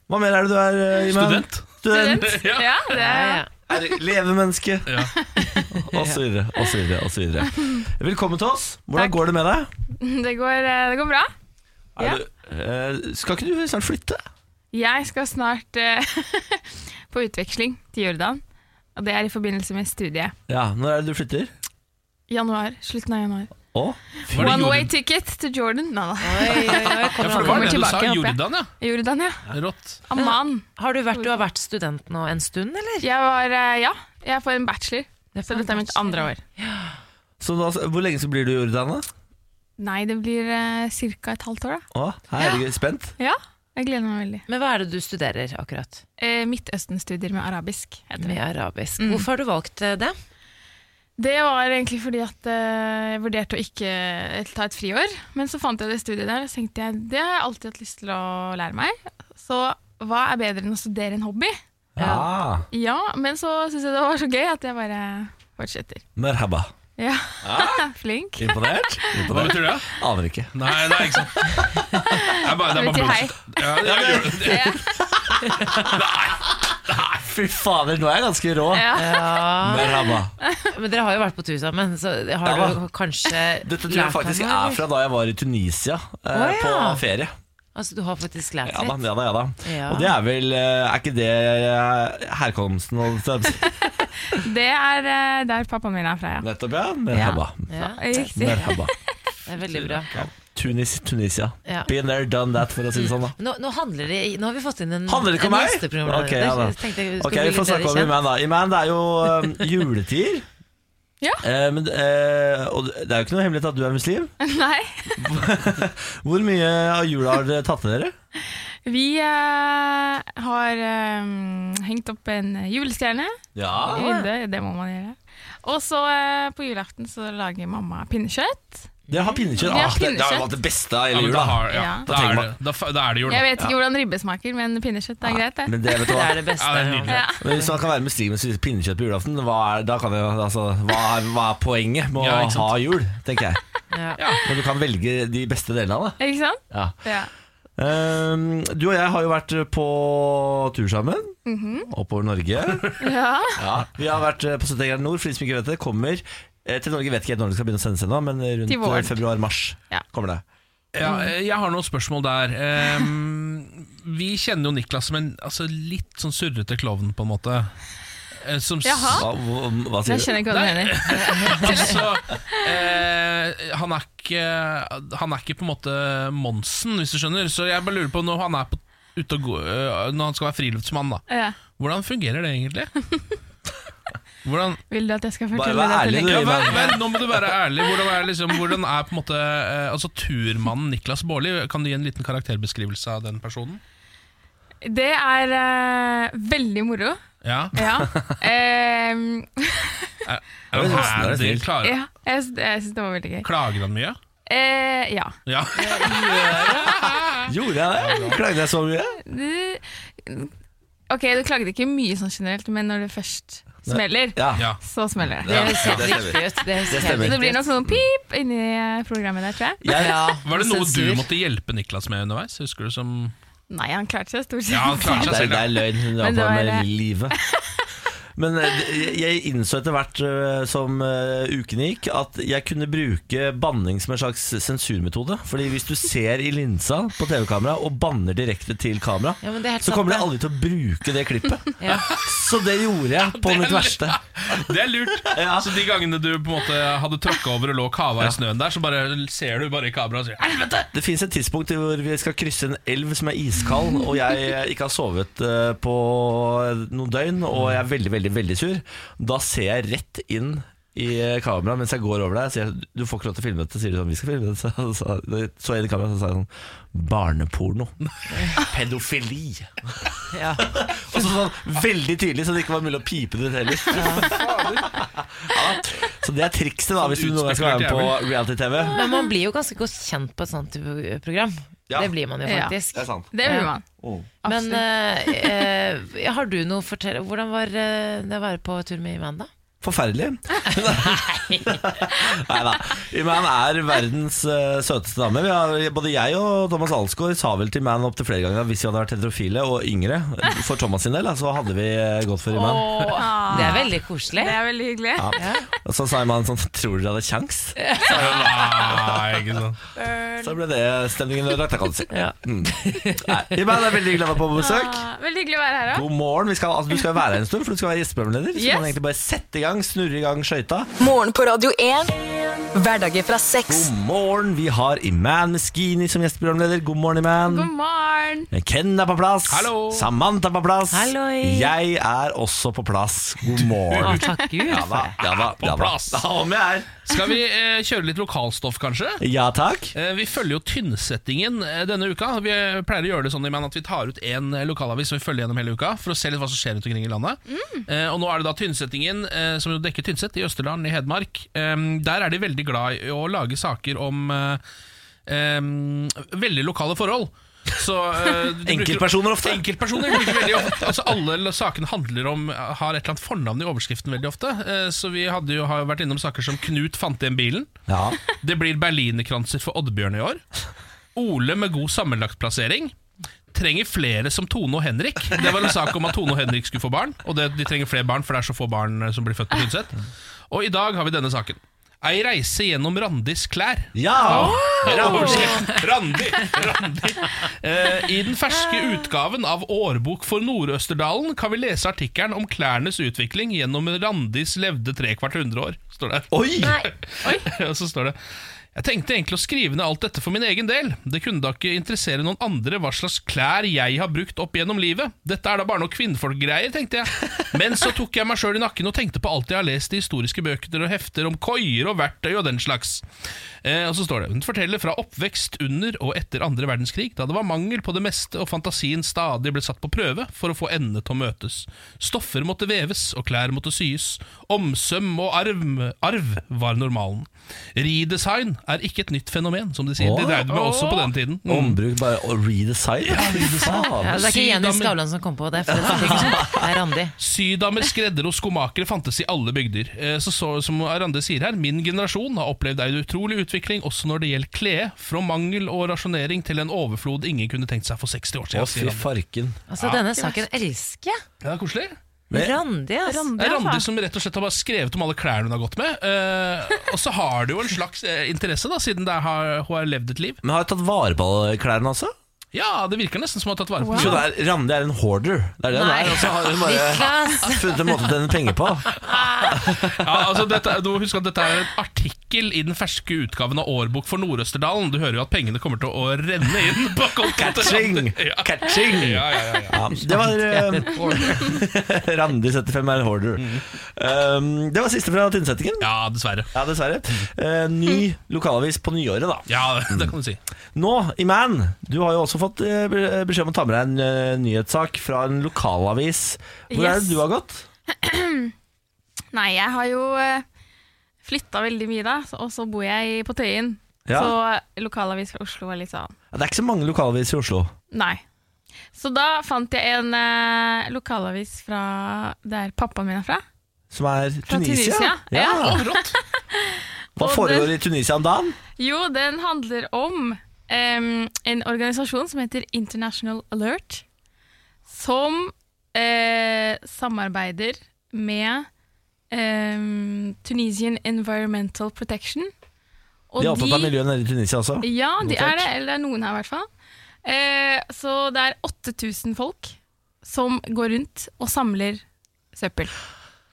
Speaker 1: Hva mer er det du er, eh, Iman?
Speaker 3: Student.
Speaker 1: Student.
Speaker 9: Vent.
Speaker 3: Ja.
Speaker 9: Ja,
Speaker 2: Ja,
Speaker 9: det er
Speaker 2: ja.
Speaker 1: Er det levemenneske.
Speaker 3: Ja.
Speaker 1: Og så videre, og så videre, og så videre. Velkommen til oss. Hvordan
Speaker 9: Takk.
Speaker 1: går det med deg?
Speaker 9: Det går, eh, det går bra.
Speaker 1: Er
Speaker 9: Ja.
Speaker 1: du, eh, skal ikke du snart flytte?
Speaker 9: Jeg skal snart eh, på utveksling til Jordan, og det er i forbindelse med studiet.
Speaker 1: Ja, Når er det du flytter?
Speaker 9: Januar, Slutten av januar.
Speaker 1: Å?
Speaker 3: Var det
Speaker 9: One way
Speaker 3: Jordan?
Speaker 9: ticket to Jordan. Nei da.
Speaker 2: Oi, oi, oi,
Speaker 3: Ja, for
Speaker 2: kommer
Speaker 3: det var
Speaker 2: han.
Speaker 9: Kommer
Speaker 3: det du sa.
Speaker 9: tilbake, håper jeg.
Speaker 3: Jordan, ja.
Speaker 9: Jordan, ja.
Speaker 3: Rått.
Speaker 9: Amman.
Speaker 2: Har du, vært, du har vært student nå en stund, eller?
Speaker 9: Jeg var eh, Ja, jeg er på en bachelor,
Speaker 2: Det er
Speaker 9: så dette er mitt andre år.
Speaker 1: Så da, hvor lenge så blir du i Jordan, da?
Speaker 9: Nei, det blir uh, ca. et halvt år, da.
Speaker 1: Å, herregud, spent.
Speaker 9: Ja, jeg gleder meg veldig.
Speaker 2: Men hva er det du studerer akkurat?
Speaker 9: Eh, Midtøsten-studier med arabisk, heter det.
Speaker 2: Med arabisk. Hvorfor har du valgt eh, det?
Speaker 9: Det var egentlig fordi at eh, jeg vurderte å ikke eh, ta et friår, men så fant jeg det studiet der, og så tenkte jeg det har jeg alltid hatt lyst til å lære meg. Så hva er bedre enn å studere en hobby?
Speaker 1: Ja.
Speaker 9: Ja, men så syns jeg det var så gøy at jeg bare fortsetter.
Speaker 1: Merhaba.
Speaker 9: Ja, flink.
Speaker 1: Imponert?
Speaker 3: Hva
Speaker 1: Imponert?
Speaker 3: betyr det?
Speaker 1: Aner ikke.
Speaker 3: Nei, det er ikke sant. Det er bare, det er
Speaker 9: Vil si
Speaker 3: bare
Speaker 9: hei.
Speaker 3: bullshit. Ja, det er Jordan.
Speaker 9: Ja,
Speaker 1: Fy fader, nå er jeg ganske rå.
Speaker 9: ja.
Speaker 1: Merhaba.
Speaker 2: Men dere har jo vært på tur sammen, så har
Speaker 1: Ja.
Speaker 2: du kanskje
Speaker 1: Dette tror jeg faktisk
Speaker 2: deg noe,
Speaker 1: er
Speaker 2: eller?
Speaker 1: fra da jeg var i Tunisia eh,
Speaker 2: Å, ja.
Speaker 1: på ferie.
Speaker 2: Altså, du har faktisk lært
Speaker 1: Ja da,
Speaker 2: litt?
Speaker 1: ja da. ja da
Speaker 2: Ja.
Speaker 1: Og det er vel eh, Er ikke det eh, herkomsten? Og
Speaker 9: Det er eh, der pappaen min er fra, ja.
Speaker 1: nettopp, ja. Merhaba.
Speaker 2: Ja,
Speaker 9: Riktig.
Speaker 1: Merhaba.
Speaker 2: det er veldig bra.
Speaker 1: Tunis, Tunisia.
Speaker 2: Ja.
Speaker 1: Been there, done that, for å si det sånn. da
Speaker 2: Nå, nå handler det Nå har vi fått inn en
Speaker 1: Handler det ikke
Speaker 2: en
Speaker 1: om meg?
Speaker 2: gjesteprogramleder.
Speaker 1: Ok, ja da.
Speaker 2: Jeg tenkte jeg skulle
Speaker 1: Ok,
Speaker 2: bli
Speaker 1: Vi får
Speaker 2: litt
Speaker 1: snakke om
Speaker 2: bedre kjent.
Speaker 1: Iman, da. Iman, det er jo um, juletider.
Speaker 9: Ja.
Speaker 1: Eh, men, eh, og det er jo ikke noe hemmelighet at du er muslim.
Speaker 9: Nei.
Speaker 1: Hvor mye av jula har dere tatt med dere?
Speaker 9: Vi eh, har eh, hengt opp en julestjerne i
Speaker 1: Ah.
Speaker 9: vinduet. Det må man gjøre. Og så eh, på julaften så lager mamma pinnekjøtt.
Speaker 1: Dere har pinnekjøtt.
Speaker 9: Vi har
Speaker 1: Ah, det, det har jo
Speaker 9: pinnekjøtt.
Speaker 1: vært det beste av
Speaker 3: Ja,
Speaker 1: hele
Speaker 3: men da,
Speaker 1: jula.
Speaker 3: har, ja,
Speaker 9: Ja.
Speaker 1: Da
Speaker 3: da,
Speaker 1: tenker
Speaker 3: er det,
Speaker 1: man-
Speaker 3: da, fa- da er det jul.
Speaker 9: Jeg
Speaker 3: da.
Speaker 9: vet ikke hvordan ribbe smaker, men pinnekjøtt er greit, det.
Speaker 1: Men det, vet du
Speaker 2: Det
Speaker 1: hva?
Speaker 2: er det beste.
Speaker 3: Ja, det er nydelig.
Speaker 9: Ja.
Speaker 1: Men Hvis man kan være muslim og spise pinnekjøtt på julaften, hva er, da kan jeg, altså, hva er, hva er poenget med å
Speaker 3: Ja, ikke sant.
Speaker 1: ha jul? tenker jeg
Speaker 2: Ja.
Speaker 1: Når du kan velge de beste delene av det.
Speaker 9: Ikke sant?
Speaker 1: Ja.
Speaker 9: Ja.
Speaker 1: Um, du og jeg har jo vært på tur sammen. Oppover Norge.
Speaker 9: Mhm. ja.
Speaker 1: Ja, Vi har vært eh, på 70 grader nord, for de som ikke vet det, kommer eh, til Norge. Vet ikke helt når det skal begynne å sendes ennå, men rundt
Speaker 9: Til våren.
Speaker 1: eh, februar-mars
Speaker 9: Ja.
Speaker 1: kommer det.
Speaker 3: Ja, eh, jeg har noen spørsmål der. Ehm, vi kjenner jo Niklas som en altså, litt sånn surrete klovn, på en måte. Eh, Som s-
Speaker 9: Jaha.
Speaker 1: Hva, hva, hva sier
Speaker 9: Jeg
Speaker 1: du?
Speaker 9: skjønner ikke hva du mener.
Speaker 3: Altså, eh, han, er ikke, han er ikke på en måte Monsen, hvis du skjønner. Så jeg bare lurer på når han er på, ute og gå, eh, Når han skal være friluftsmann, da.
Speaker 9: Ja.
Speaker 3: Hvordan fungerer det egentlig? Hvordan,
Speaker 9: Vil du at jeg skal
Speaker 1: Bare
Speaker 9: fortelle
Speaker 1: vær
Speaker 9: deg
Speaker 1: ærlig,
Speaker 9: til
Speaker 1: du.
Speaker 3: ja,
Speaker 9: deg?
Speaker 3: vær, vær, nå må du være ærlig. Hvordan er, liksom, hvordan er på en måte eh, Altså turmannen Niklas Baarli? Kan du gi en liten karakterbeskrivelse av den personen?
Speaker 9: Det er eh, veldig moro.
Speaker 3: Ja,
Speaker 9: Ja. Ehm,
Speaker 3: er
Speaker 1: Det
Speaker 3: han
Speaker 1: er nesten- det er
Speaker 3: herdig?
Speaker 1: fint.
Speaker 3: Klager,
Speaker 9: ja. Jeg, sy- jeg syns det var veldig gøy.
Speaker 3: klager han mye?
Speaker 9: Eh, ja.
Speaker 3: Ja.
Speaker 1: Gjorde jeg det? Klagde jeg så mye?
Speaker 9: Du, ok, du klagde ikke mye sånn generelt, men når det først smeller,
Speaker 1: Ja.
Speaker 3: ja.
Speaker 9: så smeller det.
Speaker 1: Ja,
Speaker 2: Det ser
Speaker 1: det stemmer.
Speaker 2: riktig ut. Det, ser
Speaker 1: stemmer.
Speaker 9: Så
Speaker 2: helt
Speaker 9: det blir
Speaker 2: riktig ut.
Speaker 9: nok sånn pip inni programmet der, tror jeg.
Speaker 1: Jeg,
Speaker 2: Ja,
Speaker 3: Var det noe
Speaker 2: sensur.
Speaker 3: du måtte hjelpe Niklas med underveis? Husker du som
Speaker 9: Nei, han klarte seg stort sett.
Speaker 3: Ja, han klarte
Speaker 1: det, er,
Speaker 3: seg selv.
Speaker 1: det
Speaker 3: ja.
Speaker 1: er løgn. Hun
Speaker 9: Men det
Speaker 1: var
Speaker 9: var
Speaker 1: med
Speaker 9: det.
Speaker 1: livet. Men eh, jeg- jeg innså etter hvert eh, som eh, ukene gikk, at jeg kunne bruke banning som en slags sensurmetode. Fordi hvis du ser i linsa på TV-kamera og banner direkte til kamera,
Speaker 2: Ja, men det er helt
Speaker 1: så kommer du
Speaker 2: sant,
Speaker 1: aldri til å bruke det klippet.
Speaker 2: Ja.
Speaker 1: Så det gjorde jeg på
Speaker 3: Det er
Speaker 1: mitt
Speaker 3: lurt.
Speaker 1: verste.
Speaker 3: Det er lurt!
Speaker 1: Ja.
Speaker 3: Så de gangene du på en måte hadde tråkka over og lå og kava i snøen der, så bare ser du bare i kameraet og sier Helvete!
Speaker 1: Det fins et tidspunkt hvor vi skal krysse en elv som er iskald, og jeg ikke har sovet eh, på noen døgn, og jeg er veldig, veldig veldig sur. Da ser jeg rett inn i eh, kameraet mens jeg går over deg. Sier, jeg, du får ikke lov til å filme dette, sier du sånn. Vi skal filme dette. Så, så, så jeg inn i kameraet og sa jeg sånn Barneporno. Pedofili.
Speaker 2: Ja.
Speaker 1: Og så sånn veldig tydelig, så det ikke var mulig å pipe det ut heller. Ja. Så det er trikset, da, hvis du noen gang skal være med på reality-TV.
Speaker 2: Men man blir jo ganske godt kjent på et sånt type program.
Speaker 1: Ja.
Speaker 2: Det blir man jo
Speaker 9: Ja.
Speaker 2: faktisk.
Speaker 1: Det er sant.
Speaker 9: Det blir man.
Speaker 1: Oh.
Speaker 2: Men
Speaker 9: Absolutt.
Speaker 2: eh, eh, har du noe å fortelle Hvordan var eh, det å være på tur med Iman, da?
Speaker 1: Forferdelig. Nei da. Iman er verdens eh, søteste dame. Vi har, både jeg og Thomas Alsgaard sa vel til Iman opptil flere ganger at hvis vi hadde vært heterofile og yngre, eh, for Thomas sin del, da, så hadde vi eh, gått for Iman.
Speaker 2: Det er veldig koselig.
Speaker 9: Det er veldig hyggelig.
Speaker 1: Og så sa Iman sånn Tror dere hadde kjangs?
Speaker 3: Nei, ikke sant.
Speaker 1: Så ble det stemningen ødelagt, da, kan du si. Mm. Nei, Iman er veldig glad på besøk.
Speaker 9: Ah, veldig hyggelig å være her òg.
Speaker 1: God morgen. Vi skal, altså, du skal jo være her en stund, for du skal være gjesteprogramleder. Så
Speaker 9: Yes.
Speaker 1: kan du egentlig bare sette i gang, snurre i gang skøyta.
Speaker 4: Morgen på Radio 1. Hverdager fra seks.
Speaker 1: God morgen. Vi har Iman Meskini som gjesteprogramleder. God morgen, Iman.
Speaker 9: God morgen.
Speaker 1: Ken er på plass.
Speaker 3: Hallo.
Speaker 1: Samantha er på plass.
Speaker 2: Halloi.
Speaker 1: Jeg er også på plass. God
Speaker 2: Å,
Speaker 1: morgen.
Speaker 2: takk Gud
Speaker 1: Ja da,
Speaker 2: for det.
Speaker 1: ja da,
Speaker 3: På
Speaker 1: ja da.
Speaker 3: plass.
Speaker 1: Da om jeg er.
Speaker 3: Skal vi eh, kjøre litt lokalstoff, kanskje?
Speaker 1: Ja takk.
Speaker 3: Eh, Vi følger jo Tynnsettingen eh, denne uka. Vi eh, pleier å gjøre det sånn i Man at vi tar ut én eh, lokalavis og vi følger gjennom hele uka for å se litt hva som skjer rundt omkring i landet. Eh, Og nå er det da Tynnsettingen, eh, som jo dekker Tynset i Østerdalen i Hedmark. Eh, Der er de veldig glad i å lage saker om eh, eh, veldig lokale forhold. Så, eh, de bruker-
Speaker 1: Enkeltpersoner ofte.
Speaker 3: Enkeltpersoner bruker veldig ofte Altså Alle l- sakene handler om har et eller annet fornavn i overskriften veldig ofte. Eh, Så vi hadde jo, har jo vært innom saker som Knut fant igjen bilen.
Speaker 1: Ja.
Speaker 3: Det blir berlinerkranser for Oddbjørn i år. Ole med god sammenlagtplassering. Trenger flere som Tone og Henrik. Det var en sak om at Tone og Henrik skulle få barn. Og det, de trenger flere barn, for det er så få barn eh, som blir født på Tynset. Og i dag har vi denne saken. Ei reise gjennom Randis klær.
Speaker 1: ja.
Speaker 3: Randi! Randi, Randi. Eh, I den ferske utgaven av Årbok for Nord-Østerdalen kan vi lese artikkelen om klærnes utvikling gjennom Randis levde trekvart hundre år. Står det.
Speaker 1: Oi!
Speaker 3: Og så står det Jeg tenkte egentlig å skrive ned alt dette for min egen del. Det kunne da ikke interessere noen andre hva slags klær jeg har brukt opp gjennom livet. Dette er da bare noe kvinnfolkgreier, tenkte jeg. Men så tok jeg meg sjøl i nakken og tenkte på alt jeg har lest i historiske bøker og hefter om koier og verktøy og den slags. Eh, og så står det Hun forteller fra oppvekst under og etter andre verdenskrig, da det var mangel på det meste og fantasien stadig ble satt på prøve for å få endene til å møtes. Stoffer måtte veves, og klær måtte syes. Omsøm og arv, arv var normalen. Redesign er ikke et nytt fenomen, som de sier.
Speaker 1: Åh.
Speaker 3: Det dreide med også på den tiden. Mm.
Speaker 1: Ombruk, bare å redesign.
Speaker 2: Ja,
Speaker 1: Faen.
Speaker 2: Altså, det er ikke Jenny
Speaker 3: Sydamer-
Speaker 2: Skavlan som kom på det. For det er Randi.
Speaker 3: Sydamer, skreddere og skomakere fantes i alle bygder. Eh, Så, så Som Arande sier her, min generasjon har opplevd ei utrolig utvikling også når det gjelder klede, fra mangel og rasjonering til en overflod ingen kunne tenkt seg for 60 år
Speaker 1: Å,
Speaker 3: siden.
Speaker 1: fy
Speaker 3: sier Randi.
Speaker 1: farken.
Speaker 2: Altså, denne saken elsker jeg.
Speaker 3: Ja, det er koselig.
Speaker 1: Men-
Speaker 2: Randi, ass.
Speaker 9: Randi,
Speaker 3: Det er Randi
Speaker 9: altså.
Speaker 3: som rett og slett har bare skrevet om alle klærne hun har gått med. eh, og så har det jo en slags eh, interesse, da, siden det er, har- hun har levd et liv.
Speaker 1: Men har jeg tatt vare på klærne, altså?
Speaker 3: Ja, det virker nesten som hun har tatt vare på
Speaker 1: Så
Speaker 3: det.
Speaker 1: det er, Randi er en hoarder. Det er det hun
Speaker 2: Nei.
Speaker 1: er. Og så har hun bare
Speaker 2: Niklas!
Speaker 1: funnet en måte å tjene penger på.
Speaker 3: Ja, altså dette, er- du må huske at dette er en artikkel i den ferske utgaven av Årbok for Nord-Østerdalen. Du hører jo at pengene kommer til å renne inn på kontoen til
Speaker 1: Catching!
Speaker 3: Randi. Ja.
Speaker 1: Catching!
Speaker 3: Ja, ja, ja, ja.
Speaker 1: Ja, det var eh, Randi 75 er en hoarder.
Speaker 3: Mm.
Speaker 1: Um, det var siste fra Tynnsettingen.
Speaker 3: ja, dessverre.
Speaker 1: Ja, dessverre. Eh, ny lokalavis på nyåret, da.
Speaker 3: Ja, det kan du si.
Speaker 1: Nå, Iman, du har jo også fått eh, be- beskjed om å ta med deg en eh, nyhetssak fra en lokalavis. Hvor er
Speaker 9: Yes.
Speaker 1: det du har gått?
Speaker 9: Nei, jeg har jo flytta veldig mye da, så- og så bor jeg på Tøyen.
Speaker 1: Ja.
Speaker 9: Så lokalavis fra Oslo var litt sånn
Speaker 1: Ja, Det er ikke så mange lokalaviser i Oslo.
Speaker 9: nei. Så da fant jeg en eh, lokalavis fra der pappaen min er fra.
Speaker 1: Som er
Speaker 9: Fra
Speaker 1: Tunisia?
Speaker 9: Tunisia, ja.
Speaker 3: Å, rått.
Speaker 1: Hva
Speaker 9: Og
Speaker 1: foregår i Tunisia om dagen?
Speaker 9: Jo, den handler om em, en organisasjon som heter International Alert, som eh, samarbeider med em, Tunisian Environmental Protection. Og
Speaker 1: De er opptatt av miljøet nede i Tunisia også.
Speaker 9: Ja, de
Speaker 1: Notert.
Speaker 9: er det, eller det er noen her i hvert fall. Eh, så det er 8000 folk som går rundt og samler søppel.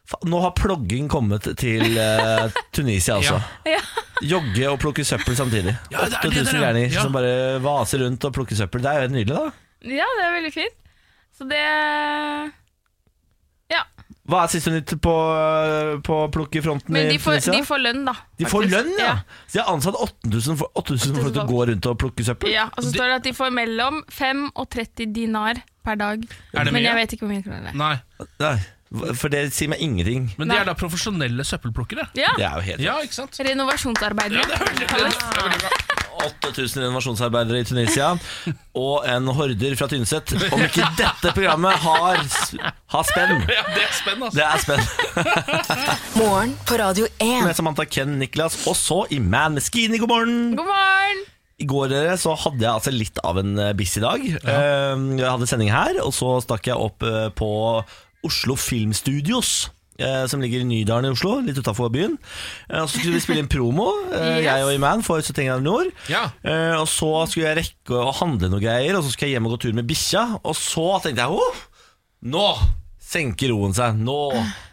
Speaker 1: Fa- Nå har plogging kommet til eh, Tunisia altså.
Speaker 9: Ja.
Speaker 1: Jogge og plukke søppel samtidig.
Speaker 3: Ja, det er det
Speaker 1: 8000
Speaker 3: der, ja.
Speaker 1: gærninger
Speaker 3: Ja.
Speaker 1: som bare vaser rundt og plukker søppel. Det er jo helt nydelig, da.
Speaker 9: Ja, det er veldig fint. Så det Ja.
Speaker 1: Hva er siste nytt på, på plukkefronten i
Speaker 9: Men de får,
Speaker 1: Tunisia?
Speaker 9: de får lønn, da.
Speaker 1: De får
Speaker 9: faktisk.
Speaker 1: lønn, ja! Så de har ansatt 8000 for- 8000 folk til å gå rundt og plukke søppel.
Speaker 9: Ja, og så
Speaker 3: Det-
Speaker 9: står det at de får mellom 5 og 30 dinar per dag.
Speaker 3: det mye?
Speaker 9: Men jeg vet ikke hvor mye kroner det er.
Speaker 3: Nei,
Speaker 1: Nei, for det sier meg ingenting.
Speaker 3: men de er da profesjonelle søppelplukkere.
Speaker 1: Det
Speaker 9: Ja,
Speaker 1: er jo helt
Speaker 3: Ja, ikke sant?
Speaker 9: Renovasjonsarbeidere.
Speaker 3: Ja, det er veldig, det er veldig bra.
Speaker 1: 8000 renovasjonsarbeidere i Tunisia og en horder fra Tynset. Om ikke dette programmet har, s- har spenn!
Speaker 3: Ja, det er spennende, altså.
Speaker 1: Det er spenn.
Speaker 4: Morgen på Radio 1.
Speaker 1: Med Samantha Ken, Niklas og så Iman Skini, god morgen!
Speaker 9: God morgen!
Speaker 1: I går dere, så hadde jeg altså litt av en eh, busy dag. Eh, Jeg hadde sending her, og så stakk jeg opp eh, på Oslo Filmstudios. eh, Som ligger i Nydalen i Oslo, litt utafor byen. Eh, Og så skulle vi spille inn promo, eh,
Speaker 9: Yes.
Speaker 1: jeg og Iman, for 70 grader nord.
Speaker 3: Ja.
Speaker 1: Eh, Og så skulle jeg rekke å handle noe greier, og så skulle jeg hjem og gå tur med bikkja. Og så tenkte jeg åh, nå senker roen seg. Nå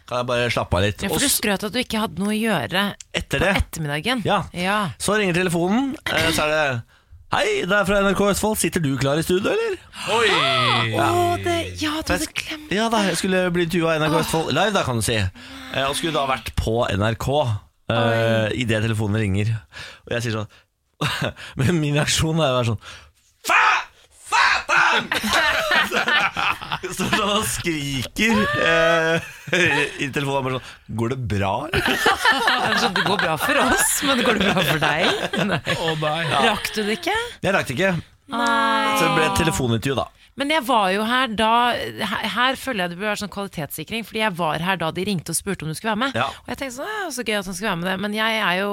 Speaker 1: kan jeg bare slappe av litt.
Speaker 2: Ja,
Speaker 1: Og
Speaker 2: for du
Speaker 1: s-
Speaker 2: skrøt at du ikke hadde noe å gjøre
Speaker 1: etter det
Speaker 2: ettermiddagen.
Speaker 1: Ja. så ringer telefonen, eh, så er det Hei, det er fra NRK Østfold. Sitter du klar i studio, eller?
Speaker 3: Oi!
Speaker 2: Å, det, ja, du hadde glemt
Speaker 1: Ja da, jeg skulle bli intervjua av NRK Østfold live, da, kan du si. Eh, Og skulle da vært på NRK eh, idet telefonen ringer. Og jeg sier sånn Men min reaksjon er jo å være sånn Fa! Satan! Står sånn og skriker eh, i telefonen. og Bare sånn Går det bra, eller?
Speaker 2: altså, Det går bra for oss, men det går det bra for deg? Nei.
Speaker 3: Å nei.
Speaker 2: Rakk du det ikke?
Speaker 1: Jeg rakk det ikke. Så det ble et telefonintervju, da.
Speaker 2: Men jeg var jo her da Her, her føler jeg det burde vært sånn kvalitetssikring, fordi jeg var her da de ringte og spurte om du skulle være med.
Speaker 1: Ja.
Speaker 2: Og jeg tenkte sånn, ja, så gøy at han skulle være med det. Men jeg er jo,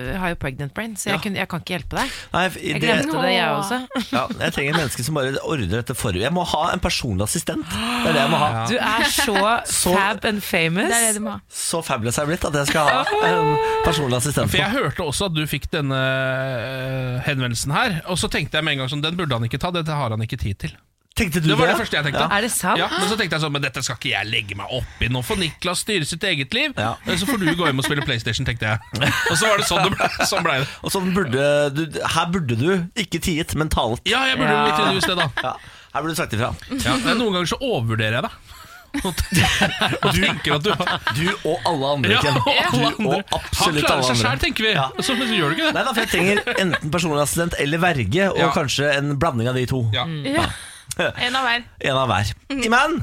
Speaker 2: øh, har jo pregnant brain, så jeg, kunne, jeg kan ikke hjelpe deg.
Speaker 1: Nei, i
Speaker 2: Jeg
Speaker 1: det-
Speaker 2: glemte det, jeg også.
Speaker 1: Ja, jeg trenger en menneske som bare ordrer dette forhud. Jeg må ha en personlig assistent. Det er det jeg må ha.
Speaker 2: Du er så,
Speaker 1: Så-
Speaker 2: fab and famous.
Speaker 9: Det er det du må ha.
Speaker 1: Så fabulous er jeg blitt at jeg skal ha en personlig assistent.
Speaker 3: For jeg
Speaker 1: På.
Speaker 3: hørte også at du fikk denne eh, øh, henvendelsen her, og så tenkte jeg med en gang sånn, den burde han ikke ta, dette har han ikke tid til.
Speaker 1: Tenkte du
Speaker 3: Det
Speaker 1: det?
Speaker 3: var det første jeg tenkte.
Speaker 2: Er det sant?
Speaker 3: Ja, men så tenkte jeg sånn, men dette skal ikke jeg legge meg opp i. Nå får Niklas styre sitt eget liv, eh,
Speaker 1: Ja.
Speaker 3: så får du gå hjem og spille PlayStation, tenkte jeg. Og så var det sånn det ble. Sånn ble det.
Speaker 1: Og sånn burde du, her burde du ikke tiet, men talt.
Speaker 3: Ja, jeg burde
Speaker 2: Ja.
Speaker 3: litt i det huset, da.
Speaker 1: Ja, her burde du sagt ifra.
Speaker 3: Ja, men noen ganger så overvurderer jeg deg. Og du tenker at du har
Speaker 1: Du og alle andre,
Speaker 3: Ja,
Speaker 1: Ken.
Speaker 3: og alle
Speaker 1: Du
Speaker 3: andre.
Speaker 1: og absolutt
Speaker 3: Han
Speaker 1: alle
Speaker 3: klarer seg sjæl,
Speaker 1: andre.
Speaker 3: tenker vi. Så, men så gjør du ikke det.
Speaker 1: Nei, da, for jeg trenger enten personlig assistent eller verge, og
Speaker 3: Ja.
Speaker 1: kanskje en blanding av de to.
Speaker 3: Mm. Ja.
Speaker 9: Ja. Mm. En av hver.
Speaker 1: En av hver. Iman,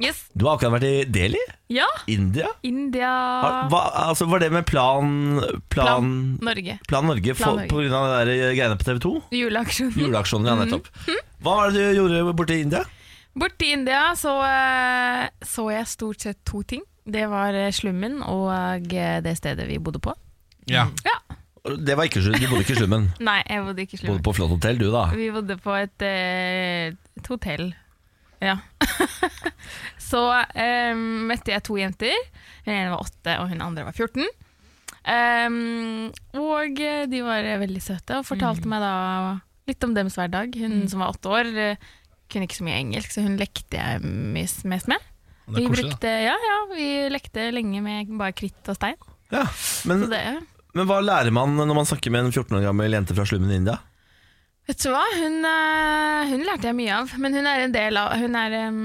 Speaker 9: Yes.
Speaker 1: du har akkurat vært i Delhi,
Speaker 9: Ja,
Speaker 1: India.
Speaker 9: India
Speaker 1: Har- Hva, altså, var det med plan Plan, plan.
Speaker 9: Plan Norge.
Speaker 1: Norge
Speaker 9: Plan
Speaker 1: for,
Speaker 9: Norge. Mhm.
Speaker 1: på grunn av de der eh, greiene på TV 2?
Speaker 9: Juleaksjonen.
Speaker 1: Juleaksjonen, ja, nettopp.
Speaker 9: Mhm.
Speaker 1: Hva var det du gjorde borte i India?
Speaker 9: Borti India så eh, så jeg stort sett to ting. Det var eh, slummen og eh, det stedet vi bodde på.
Speaker 3: Ja.
Speaker 9: Ja.
Speaker 1: Det var ikke, slu- du bodde ikke i slummen.
Speaker 9: Nei, jeg bodde ikke
Speaker 1: Du
Speaker 9: i
Speaker 1: bodde
Speaker 9: slummen.
Speaker 1: på flott hotell, du, da.
Speaker 9: Vi bodde på et, eh, et hotell. Ja. så eh, møtte jeg to jenter. Hun ene var åtte, og hun andre var 14. Ehm, og eh, de var eh, veldig søte og fortalte meg da litt om deres hverdag. Hun som var åtte år, eh, kunne ikke så mye engelsk, så hun lekte jeg mest mest med.
Speaker 3: Det
Speaker 9: Vi
Speaker 3: er koselig, da.
Speaker 9: brukte, ja, ja, vi lekte lenge med bare kritt og stein.
Speaker 1: Ja. Men,
Speaker 3: Mm.
Speaker 9: Så det,
Speaker 1: men hva lærer man når man snakker med en 14 år gammel jente fra slummen i India?
Speaker 9: vet du hva, hun, eh, hun lærte jeg mye av, men hun er en del av, hun er, em,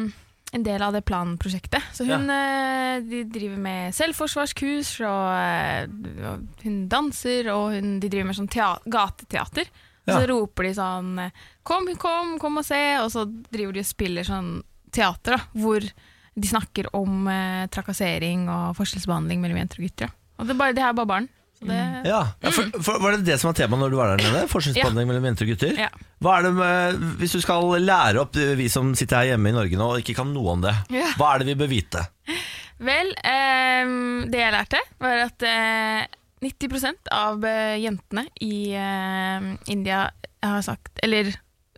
Speaker 9: en del av det planprosjektet. Så hun eh, de driver med selvforsvarskurs, og, eh, og hun danser, og hun, de driver med sånn tea- gateteater. Og så
Speaker 1: Ja.
Speaker 9: roper de sånn eh, 'kom, kom, kom og se', og så driver de og spiller sånn teater da, hvor de snakker om eh, trakassering og forskjellsbehandling mellom jenter og gutter. da. Og det, er bare, det her er bare barn. Så det,
Speaker 1: Ja, ja for, for, Var det det som var temaet når du var der nede? Forskjellsbehandling mellom jenter og gutter?
Speaker 9: Mm. Ja.
Speaker 1: Hva er det med, hvis du skal lære opp eh, vi som sitter her hjemme i Norge nå og ikke kan noe om det,
Speaker 9: Ja.
Speaker 1: hva er det vi bør vite?
Speaker 9: Vel, ehm, det jeg lærte var at eh, 90 av eh, jentene i eh, India har sagt Eller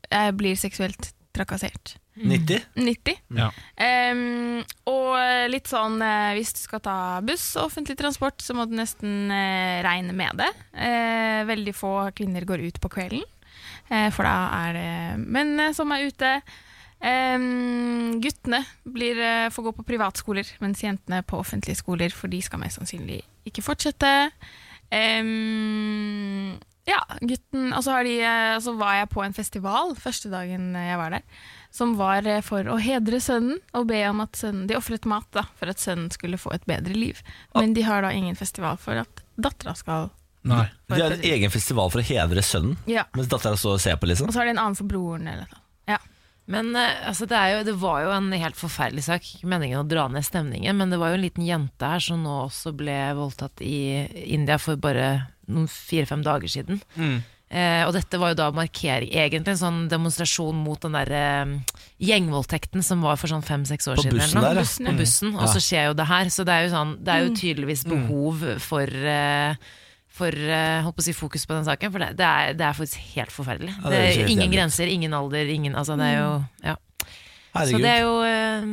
Speaker 9: eh, blir seksuelt trakassert.
Speaker 1: 90?
Speaker 9: 90.
Speaker 3: Ja.
Speaker 9: Ehm, og litt sånn eh, hvis du skal ta buss og offentlig transport, så må du nesten eh, regne med det. Eh, veldig få kvinner går ut på kvelden, eh, for da er det menn eh, som er ute. Ehm, guttene blir, eh, får gå på privatskoler, mens jentene på offentlige skoler, for de skal mest sannsynlig ikke fortsette. Ehm, ja, gutten Og så har de, eh, så var jeg på en festival første dagen eh, jeg var der, som var eh, for å hedre sønnen og be om at sønnen De ofret mat da, for at sønnen skulle få et bedre liv, men de har da ingen festival for at dattera skal
Speaker 3: Nei.
Speaker 1: Det
Speaker 9: få et
Speaker 1: er en
Speaker 9: bedre liv.
Speaker 1: egen festival for å hedre sønnen,
Speaker 9: Ja.
Speaker 1: mens dattera står og ser på, liksom.
Speaker 9: Og så har de en annen for broren eller noe. Ja.
Speaker 2: Men eh, altså, det, er jo, det var jo en helt forferdelig sak. Ikke meningen å dra ned stemningen, men det var jo en liten jente her som nå også ble voldtatt i India for bare noen fire-fem dager siden.
Speaker 1: Mm.
Speaker 2: Eh, og dette var jo da markering, egentlig en sånn demonstrasjon mot den derre eh, gjengvoldtekten som var for sånn fem-seks år
Speaker 1: På
Speaker 2: siden.
Speaker 1: bussen
Speaker 2: eller noe.
Speaker 1: der, ja. Mm.
Speaker 2: På bussen, og så skjer jo det her. Så det er jo, sånn, det er jo tydeligvis behov for eh, for eh, holdt på å si fokus på den saken, for det, det, er, det er faktisk helt forferdelig.
Speaker 1: Ja, det
Speaker 2: det
Speaker 1: høres
Speaker 2: er
Speaker 1: helt
Speaker 2: ingen
Speaker 1: jævlig ut.
Speaker 2: grenser, ingen alder, ingen altså, det er jo, ja. Så
Speaker 1: Herregud.
Speaker 2: det
Speaker 1: Det,
Speaker 2: er jo eh,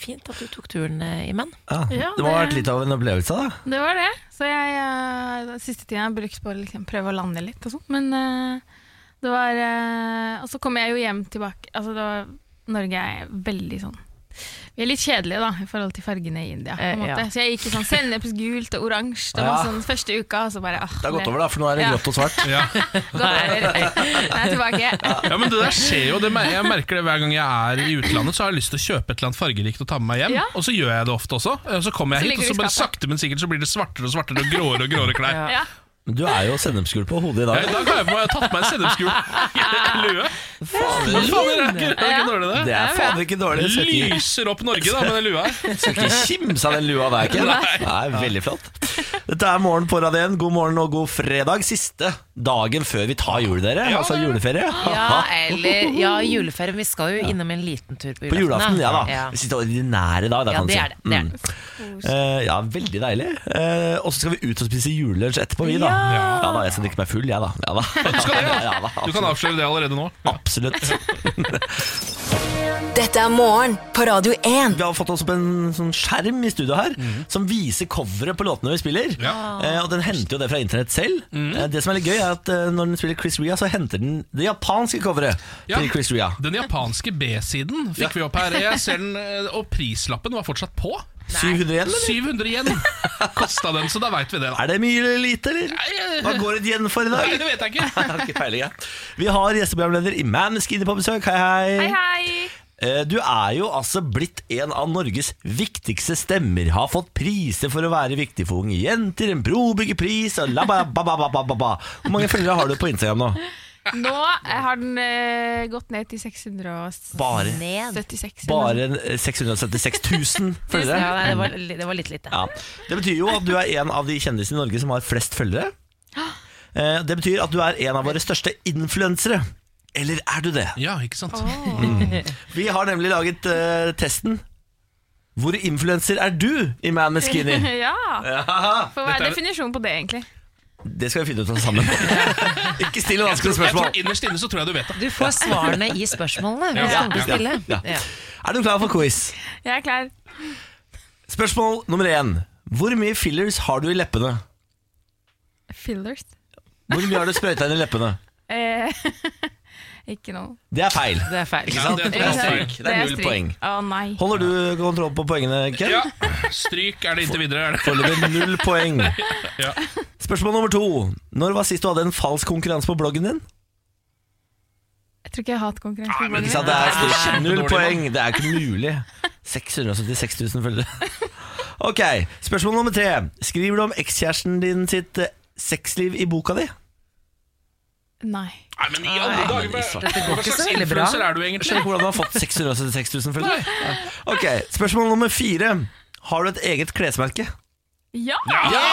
Speaker 2: fint at du tok turen, eh, Iman.
Speaker 1: ja.
Speaker 9: Ja,
Speaker 1: det må ha
Speaker 9: det-
Speaker 1: vært litt av en opplevelse, da.
Speaker 9: Det var det. Så jeg, eh, den siste tiden har jeg brukt på å liksom prøve å lande litt og sånn. Men eh, det var eh, Og så kom jeg jo hjem tilbake. Altså, det var, Norge er veldig sånn Vi er litt kjedelige, da, i forhold til fargene i India. På en
Speaker 2: Eh, ja.
Speaker 9: måte. Så jeg gikk i sånn sennepsgult og oransje. Det var
Speaker 1: Ja.
Speaker 9: sånn første uka, og så bare ah,
Speaker 1: Det har gått over, da, for nå er det
Speaker 9: Ja.
Speaker 1: grått og svart.
Speaker 3: Ja.
Speaker 9: Godt over. Jeg er tilbake.
Speaker 3: ja, men det der skjer jo. Det, mer- jeg merker det hver gang jeg er i utlandet, så har jeg lyst til å kjøpe et eller annet fargerikt og ta med meg hjem.
Speaker 9: Ja.
Speaker 3: Og så gjør jeg det ofte også. Og så kommer
Speaker 9: Så
Speaker 3: jeg hit,
Speaker 9: ligger
Speaker 3: og
Speaker 9: det
Speaker 3: så
Speaker 9: i
Speaker 3: bare
Speaker 9: skapet.
Speaker 3: sakte, men sikkert så blir det svartere og svartere og gråere og gråere klær.
Speaker 9: Ja.
Speaker 1: Men Du er jo sennepsgul på hodet i dag.
Speaker 3: Ja, I dag har jeg på meg, jeg har tatt meg en sennepsgul lue. Men
Speaker 1: Fader,
Speaker 3: faen, det er ikke, det er ikke dårlig,
Speaker 1: det
Speaker 3: det.
Speaker 1: er fader ikke dårlig. Skal ikke-
Speaker 3: Lyser opp Norge da med den lua her.
Speaker 1: skal ikke kimse av den lua der, ikke?
Speaker 3: Nei.
Speaker 1: Nei, veldig flott. Dette er Morgen på Radio 1. God morgen og god fredag. Siste dagen før vi tar jul, dere. altså juleferie.
Speaker 2: Ja, eller ja, juleferien. Vi skal jo innom en liten tur på julaften.
Speaker 1: På julaften, ja da.
Speaker 2: Ja.
Speaker 1: Siste ordinære dag, da,
Speaker 2: Ja,
Speaker 1: kan man
Speaker 2: det
Speaker 1: si.
Speaker 2: er det, det er det.
Speaker 1: Mm. Eh, ja, veldig deilig. Eh, og så skal vi ut og spise julelunsj etterpå, vi, da. Ja. da. Jeg skal drikke meg full, jeg, da. Ja, da.
Speaker 3: Skal det, ja.
Speaker 1: Ja, da.
Speaker 3: Du kan avsløre det allerede nå.
Speaker 1: Absolutt.
Speaker 4: Dette er morgen på Radio 1.
Speaker 1: Vi har fått oss opp en sånn skjerm i studio her som viser coveret på låtene vi spiller. Eh, og Den henter jo det fra internett selv. Eh, det som er litt gøy er at eh, Når den spiller Chris Ria, så henter den det japanske coveret.
Speaker 3: Ja.
Speaker 1: til Chris Ria
Speaker 3: Den japanske B-siden fikk vi opp her. Jeg ser den, eh, Og prislappen var fortsatt på.
Speaker 1: 700 igjen, eller?
Speaker 3: 700 igjen kosta den, så da veit vi det, da.
Speaker 1: Er det mye eller lite, eller? Hva
Speaker 3: Nei,
Speaker 1: går det igjen for i dag?
Speaker 3: Nei, det vet jeg ikke.
Speaker 1: Jeg har ikke peiling, jeg. Vi har gjesteprogramleder i Manskinny på besøk. Hei, hei.
Speaker 9: Hei, hei!
Speaker 1: Eh, Du er jo altså blitt en av Norges viktigste stemmer. Har fått priser for å være viktig for unge jenter, en brobyggerpris og la ba ba ba ba ba ba ba. Hvor mange følgere har du på Instagram nå?
Speaker 9: Nå eh, har den eh, gått ned til 676.
Speaker 1: Bare,
Speaker 2: Ned.
Speaker 1: bare eh, 676 000
Speaker 2: Ja,
Speaker 1: følgere.
Speaker 2: nei, det, var, li- det var litt lite.
Speaker 1: Ja. Det betyr jo at du er en av de kjendisene i Norge som har flest følgere. Eh, Det betyr at du er en av våre største influensere. Eller er du det?
Speaker 3: Ja, ikke sant?
Speaker 1: Vi har nemlig laget eh, testen. Hvor influenser er du i Man med Skinny?
Speaker 9: ja. For
Speaker 3: Dette
Speaker 9: hva er
Speaker 3: er-
Speaker 9: definisjonen på det, egentlig?
Speaker 1: Det skal vi finne ut av sammen. Ikke still vanskelige
Speaker 3: Jeg tror, jeg tror
Speaker 1: spørsmål.
Speaker 3: Innerst inne så tror jeg du vet det.
Speaker 2: Du får svarene i spørsmålene hvis
Speaker 3: Ja.
Speaker 2: andre
Speaker 3: Ja.
Speaker 2: stiller.
Speaker 1: Ja.
Speaker 2: Ja.
Speaker 1: Er du klar for quiz?
Speaker 9: Jeg er klar.
Speaker 1: Spørsmål nummer én. Hvor mye fillers har du i leppene?
Speaker 9: Fillers.
Speaker 1: Hvor mye har du sprøyta inn i leppene?
Speaker 9: Eh, ikke noe.
Speaker 1: Det er feil.
Speaker 2: Det er feil.
Speaker 1: Ikke sant?
Speaker 3: Ja, det er
Speaker 1: Det er
Speaker 3: feil.
Speaker 1: stryk. Det er null
Speaker 9: stryk.
Speaker 1: poeng.
Speaker 9: Å nei.
Speaker 1: Holder du kontroll på poengene, Ken?
Speaker 3: Ja, Stryk er det inntil videre. Er det.
Speaker 1: Foreløpig null poeng.
Speaker 3: Ja.
Speaker 1: Spørsmål nummer to. Når var sist du hadde en falsk konkurranse på bloggen din?
Speaker 9: Jeg tror ikke jeg har hatt konkurranse.
Speaker 3: Nei, men
Speaker 1: Ah, Ikke sant, det er stort. Null
Speaker 3: Kjempedårlig,
Speaker 1: poeng. Det er ikke mulig. 676 000 følgere. Ok, spørsmål nummer tre. Skriver du om ekskjæresten din sitt eh, sexliv i boka di?
Speaker 9: Nei.
Speaker 3: Nei, men i alle dager hva-
Speaker 2: Dette går
Speaker 3: Hva
Speaker 2: ikke så
Speaker 3: slags
Speaker 2: veldig bra.
Speaker 3: influenser er du egentlig?
Speaker 1: Skjønner ikke hvordan du har fått 676 000 følgere. Ok, Spørsmål nummer fire. Har du et eget klesmerke?
Speaker 9: Ja! ja.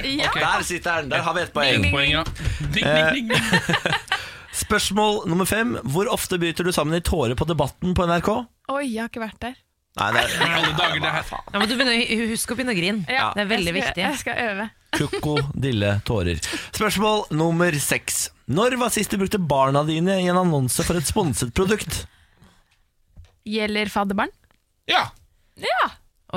Speaker 1: Der sitter den! Der har vi ett poeng.
Speaker 3: Ett poeng, ja. Ding, ding, ding, ding.
Speaker 1: Spørsmål nummer fem. Hvor ofte bryter du sammen i tårer på Debatten på NRK?
Speaker 9: Oi, jeg har ikke vært der.
Speaker 1: Nei, det
Speaker 3: I
Speaker 1: er
Speaker 3: alle dager, det her.
Speaker 2: Ja, men du begynner, husk å begynne å grine.
Speaker 9: Ja,
Speaker 2: Det er veldig
Speaker 9: jeg skal,
Speaker 2: viktig.
Speaker 9: Jeg skal øve.
Speaker 1: krokodilletårer. Spørsmål nummer seks. Når var sist du brukte barna dine i en annonse for et sponset produkt?
Speaker 9: Gjelder fadderbarn?
Speaker 3: Ja.
Speaker 9: Ja!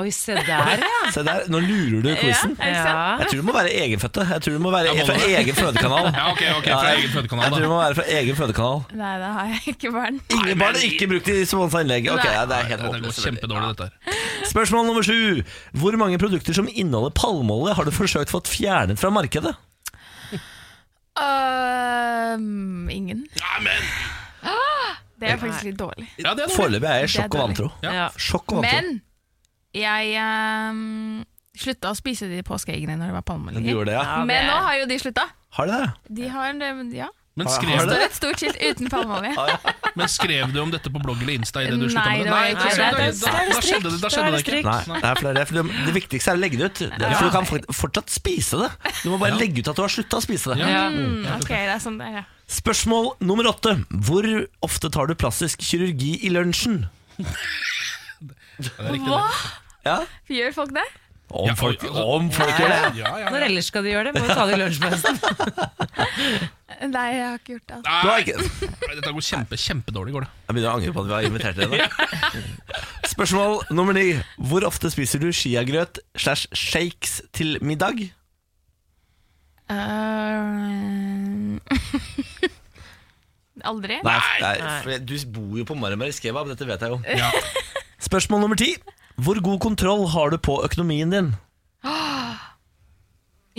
Speaker 2: Oi, se der, ja.
Speaker 1: Se der, nå lurer du quizen.
Speaker 2: ja.
Speaker 1: Jeg tror du må være egenfødte. Jeg tror du må være
Speaker 3: Ja, må
Speaker 1: fra
Speaker 3: det.
Speaker 1: egen fødekanal.
Speaker 3: Ja, ok, ok,
Speaker 1: Ja,
Speaker 3: fra
Speaker 1: jeg-
Speaker 3: egen
Speaker 1: Jeg
Speaker 3: fødekanal
Speaker 1: tror du
Speaker 3: da
Speaker 1: må være fra egen fødekanal.
Speaker 9: Nei, da har jeg ikke barn.
Speaker 1: Ingen barn er ikke brukt i sponsa innlegg. Ok,
Speaker 9: Nei.
Speaker 1: ja, det er helt
Speaker 3: Dette går
Speaker 1: håpløst.
Speaker 3: kjempedårlig dette her
Speaker 1: Spørsmål nummer sju. Hvor mange produkter som inneholder palmeolje har du forsøkt fått fjernet fra markedet?
Speaker 9: Øhm, ingen. Ah!
Speaker 3: Nei, men
Speaker 9: Det er faktisk litt dårlig.
Speaker 3: Ja, det er dårlig
Speaker 1: Foreløpig er jeg i
Speaker 9: Det er
Speaker 1: sjokk og vantro.
Speaker 2: ja.
Speaker 1: Sjokk og vantro.
Speaker 9: Men jeg øhm, slutta å spise de påskeeggene når det var
Speaker 1: Du
Speaker 9: palmeolje.
Speaker 1: gjorde det, ja.
Speaker 9: Men nå har jo de slutta.
Speaker 1: Har du det?
Speaker 9: De har en- eh, Ja.
Speaker 3: Men
Speaker 1: Har-
Speaker 3: skrev,
Speaker 1: har
Speaker 3: du,
Speaker 9: Det står et stort skilt uten palmeolje.
Speaker 3: men skrev du om dette på blogg eller Insta? I det du sluttet
Speaker 9: Nei,
Speaker 3: med
Speaker 9: det var
Speaker 3: Nei,
Speaker 9: ikke-
Speaker 3: ikke sant,
Speaker 9: Nei,
Speaker 3: da-
Speaker 9: det
Speaker 2: er-
Speaker 3: da- Da skjedde det, da skjedde det
Speaker 1: Nei,
Speaker 3: ikke
Speaker 1: det, er flere, for det, det viktigste er å legge det ut. Det er, for du kan fort- fortsatt spise det. Du må bare legge ut at du har slutta å spise det.
Speaker 2: Ja.
Speaker 9: Mm, ok, det er sånn det er, ja.
Speaker 1: Spørsmål nummer åtte. Hvor ofte tar du plastisk kirurgi i lunsjen?
Speaker 3: Det er riktig,
Speaker 9: Hva?
Speaker 1: Ja?
Speaker 9: Gjør folk det?
Speaker 1: Om
Speaker 3: Ja,
Speaker 1: folk,
Speaker 3: oi, altså.
Speaker 1: om folk gjør det.
Speaker 3: det. Ja, ja,
Speaker 2: Når
Speaker 3: ja.
Speaker 2: ellers skal de gjøre det? Må jo ta det i lunsjpausen.
Speaker 9: Nei, jeg har ikke gjort det. altså.
Speaker 1: Du har
Speaker 3: Nei,
Speaker 1: ikke
Speaker 3: nei, dette går kjempe, kjempedårlig går det
Speaker 1: Jeg begynner å angre på at vi har invitert dere. Spørsmål nummer ni. Hvor ofte spiser du skiagrøt slash shakes til middag?
Speaker 9: Øh, Aldri?
Speaker 1: Nei, for du bor jo på Marmaris kebab, dette vet jeg jo.
Speaker 3: Ja,
Speaker 1: Spørsmål nummer ti. Hvor god kontroll har du på økonomien din?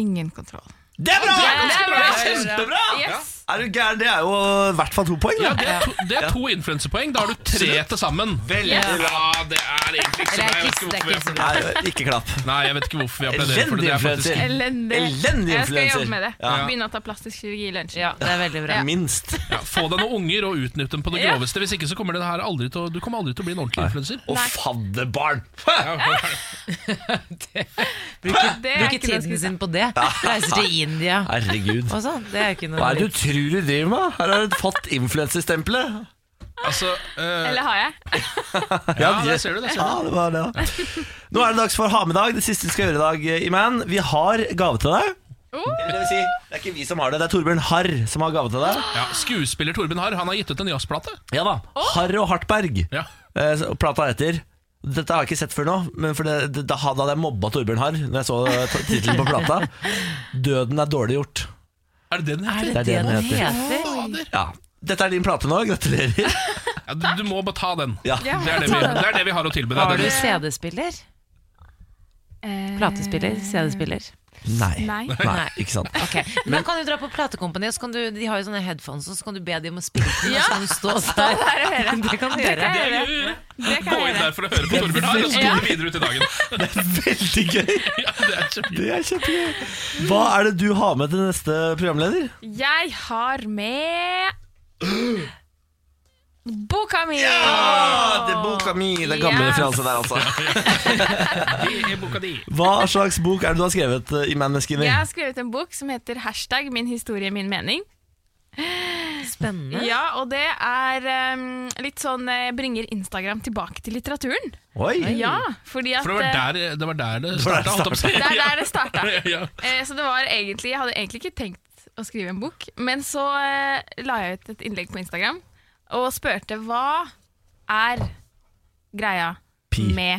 Speaker 9: Ingen kontroll.
Speaker 1: Det er bra!
Speaker 9: det er bra!
Speaker 1: Kjempebra!
Speaker 9: Yes.
Speaker 1: Er du gæren? Det er jo i hvert fall to poeng.
Speaker 3: ja
Speaker 1: Da.
Speaker 3: det, er to, det er to influensepoeng Da har du tre til sammen
Speaker 1: Veldig
Speaker 3: Ja, det er egentlig ikke så
Speaker 2: Eller det er
Speaker 3: bra Jeg vet
Speaker 2: ikke- det er
Speaker 3: ikke hvorfor vi
Speaker 2: ikke så bra.
Speaker 1: Nei, ikke klapp.
Speaker 3: Nei, jeg vet ikke hvorfor vi applauderer for det
Speaker 1: Elendig
Speaker 3: Det er faktisk
Speaker 1: influenser.
Speaker 9: Elendig.
Speaker 1: Elendig
Speaker 9: Jeg skal
Speaker 1: influenser.
Speaker 9: jobbe med det.
Speaker 1: Ja.
Speaker 9: Begynne å ta plastisk kirurgi i lunsjen.
Speaker 2: Ja, det er veldig bra.
Speaker 1: Minst.
Speaker 3: ja, Få deg noen unger og utnytt dem på det
Speaker 9: Ja.
Speaker 3: groveste Hvis ikke så kommer det her aldri til å, Du kommer aldri til å bli en ordentlig influenser
Speaker 1: Og fadderbarn!
Speaker 9: Det er
Speaker 2: Bruke
Speaker 9: ikke noe
Speaker 2: tiden sin på det. Reiser til India
Speaker 1: Herregud.
Speaker 2: og sånn. Det er jo ikke noe
Speaker 1: Hva er det du tror du driver med? Her har du fått influenserstempelet.
Speaker 3: Altså, eh,
Speaker 9: Eller har jeg?
Speaker 3: ja, der ser du det ser du.
Speaker 1: Ja, det var det. eh, da. Nå er det dags for Ha med dag. Det siste vi skal gjøre i dag, Iman. Vi har gave til deg. Det vil si, det er ikke vi som har det, det er Torbjørn Harr som har gave til deg.
Speaker 3: Ja, skuespiller Torben Harr Han har gitt ut en jazzplate.
Speaker 1: Ja da, Harr og Hartberg.
Speaker 3: Ja.
Speaker 1: Eh, så- og plata heter Dette har jeg ikke sett før nå, men for det, det, da hadde jeg mobba Torbjørn Harr Når jeg så eh, t- tittelen på plata. 'Døden er dårlig gjort'.
Speaker 3: Er det det den
Speaker 2: Er
Speaker 3: heter?
Speaker 2: det det den heter?
Speaker 3: Fader.
Speaker 1: Ja. Dette er din plate nå, gratulerer.
Speaker 3: Ja, du, du må bare ta den.
Speaker 1: Ja.
Speaker 9: Ja,
Speaker 3: Det er det vi, det er det vi har å tilby deg.
Speaker 2: Har du
Speaker 3: Det
Speaker 2: CD-spiller? Eh, Platespiller? CD-spiller?
Speaker 1: Nei.
Speaker 9: Nei.
Speaker 1: Nei, ikke sant.
Speaker 2: Ok, men Da kan du dra på platekompaniet, og så kan du, de har jo sånne headphones, og så kan du be dem om å spille den, og så kan du stå der. Det kan du gjøre.
Speaker 9: kan jeg
Speaker 3: er
Speaker 9: gjøre.
Speaker 3: det.
Speaker 9: Det
Speaker 3: Gå
Speaker 9: kan jeg
Speaker 3: inn der
Speaker 9: gjøre.
Speaker 3: for å høre på Torbjørn Harr, og så går du videre ut i dagen.
Speaker 1: Veldig gøy.
Speaker 3: Ja, det er kjempe-
Speaker 1: Det er kjempegøy. Hva er det du har med til neste programleder?
Speaker 9: Jeg har med Boka mi!
Speaker 1: Ah, det er boka mi. Det er
Speaker 9: Yes.
Speaker 1: der, altså.
Speaker 3: Det er boka di.
Speaker 1: Hva slags bok er det du har skrevet eh, i Manneskinner?
Speaker 9: Jeg har skrevet en bok som heter 'Hashtag min historie, min mening'.
Speaker 2: Spennende.
Speaker 9: Ja, Og det er um, litt sånn eh, bringer Instagram tilbake til litteraturen.
Speaker 1: Oi.
Speaker 9: Ja, fordi at
Speaker 3: For det
Speaker 9: eh,
Speaker 3: var der det, var der det
Speaker 1: var der det
Speaker 3: starta. holdt jeg på å si.
Speaker 9: Det er der det starta.
Speaker 3: Ja.
Speaker 9: Eh, Så det var egentlig Jeg hadde egentlig ikke tenkt å skrive en bok, men så eh, la jeg ut et innlegg på Instagram og spurte hva er greia
Speaker 1: Pi.
Speaker 9: med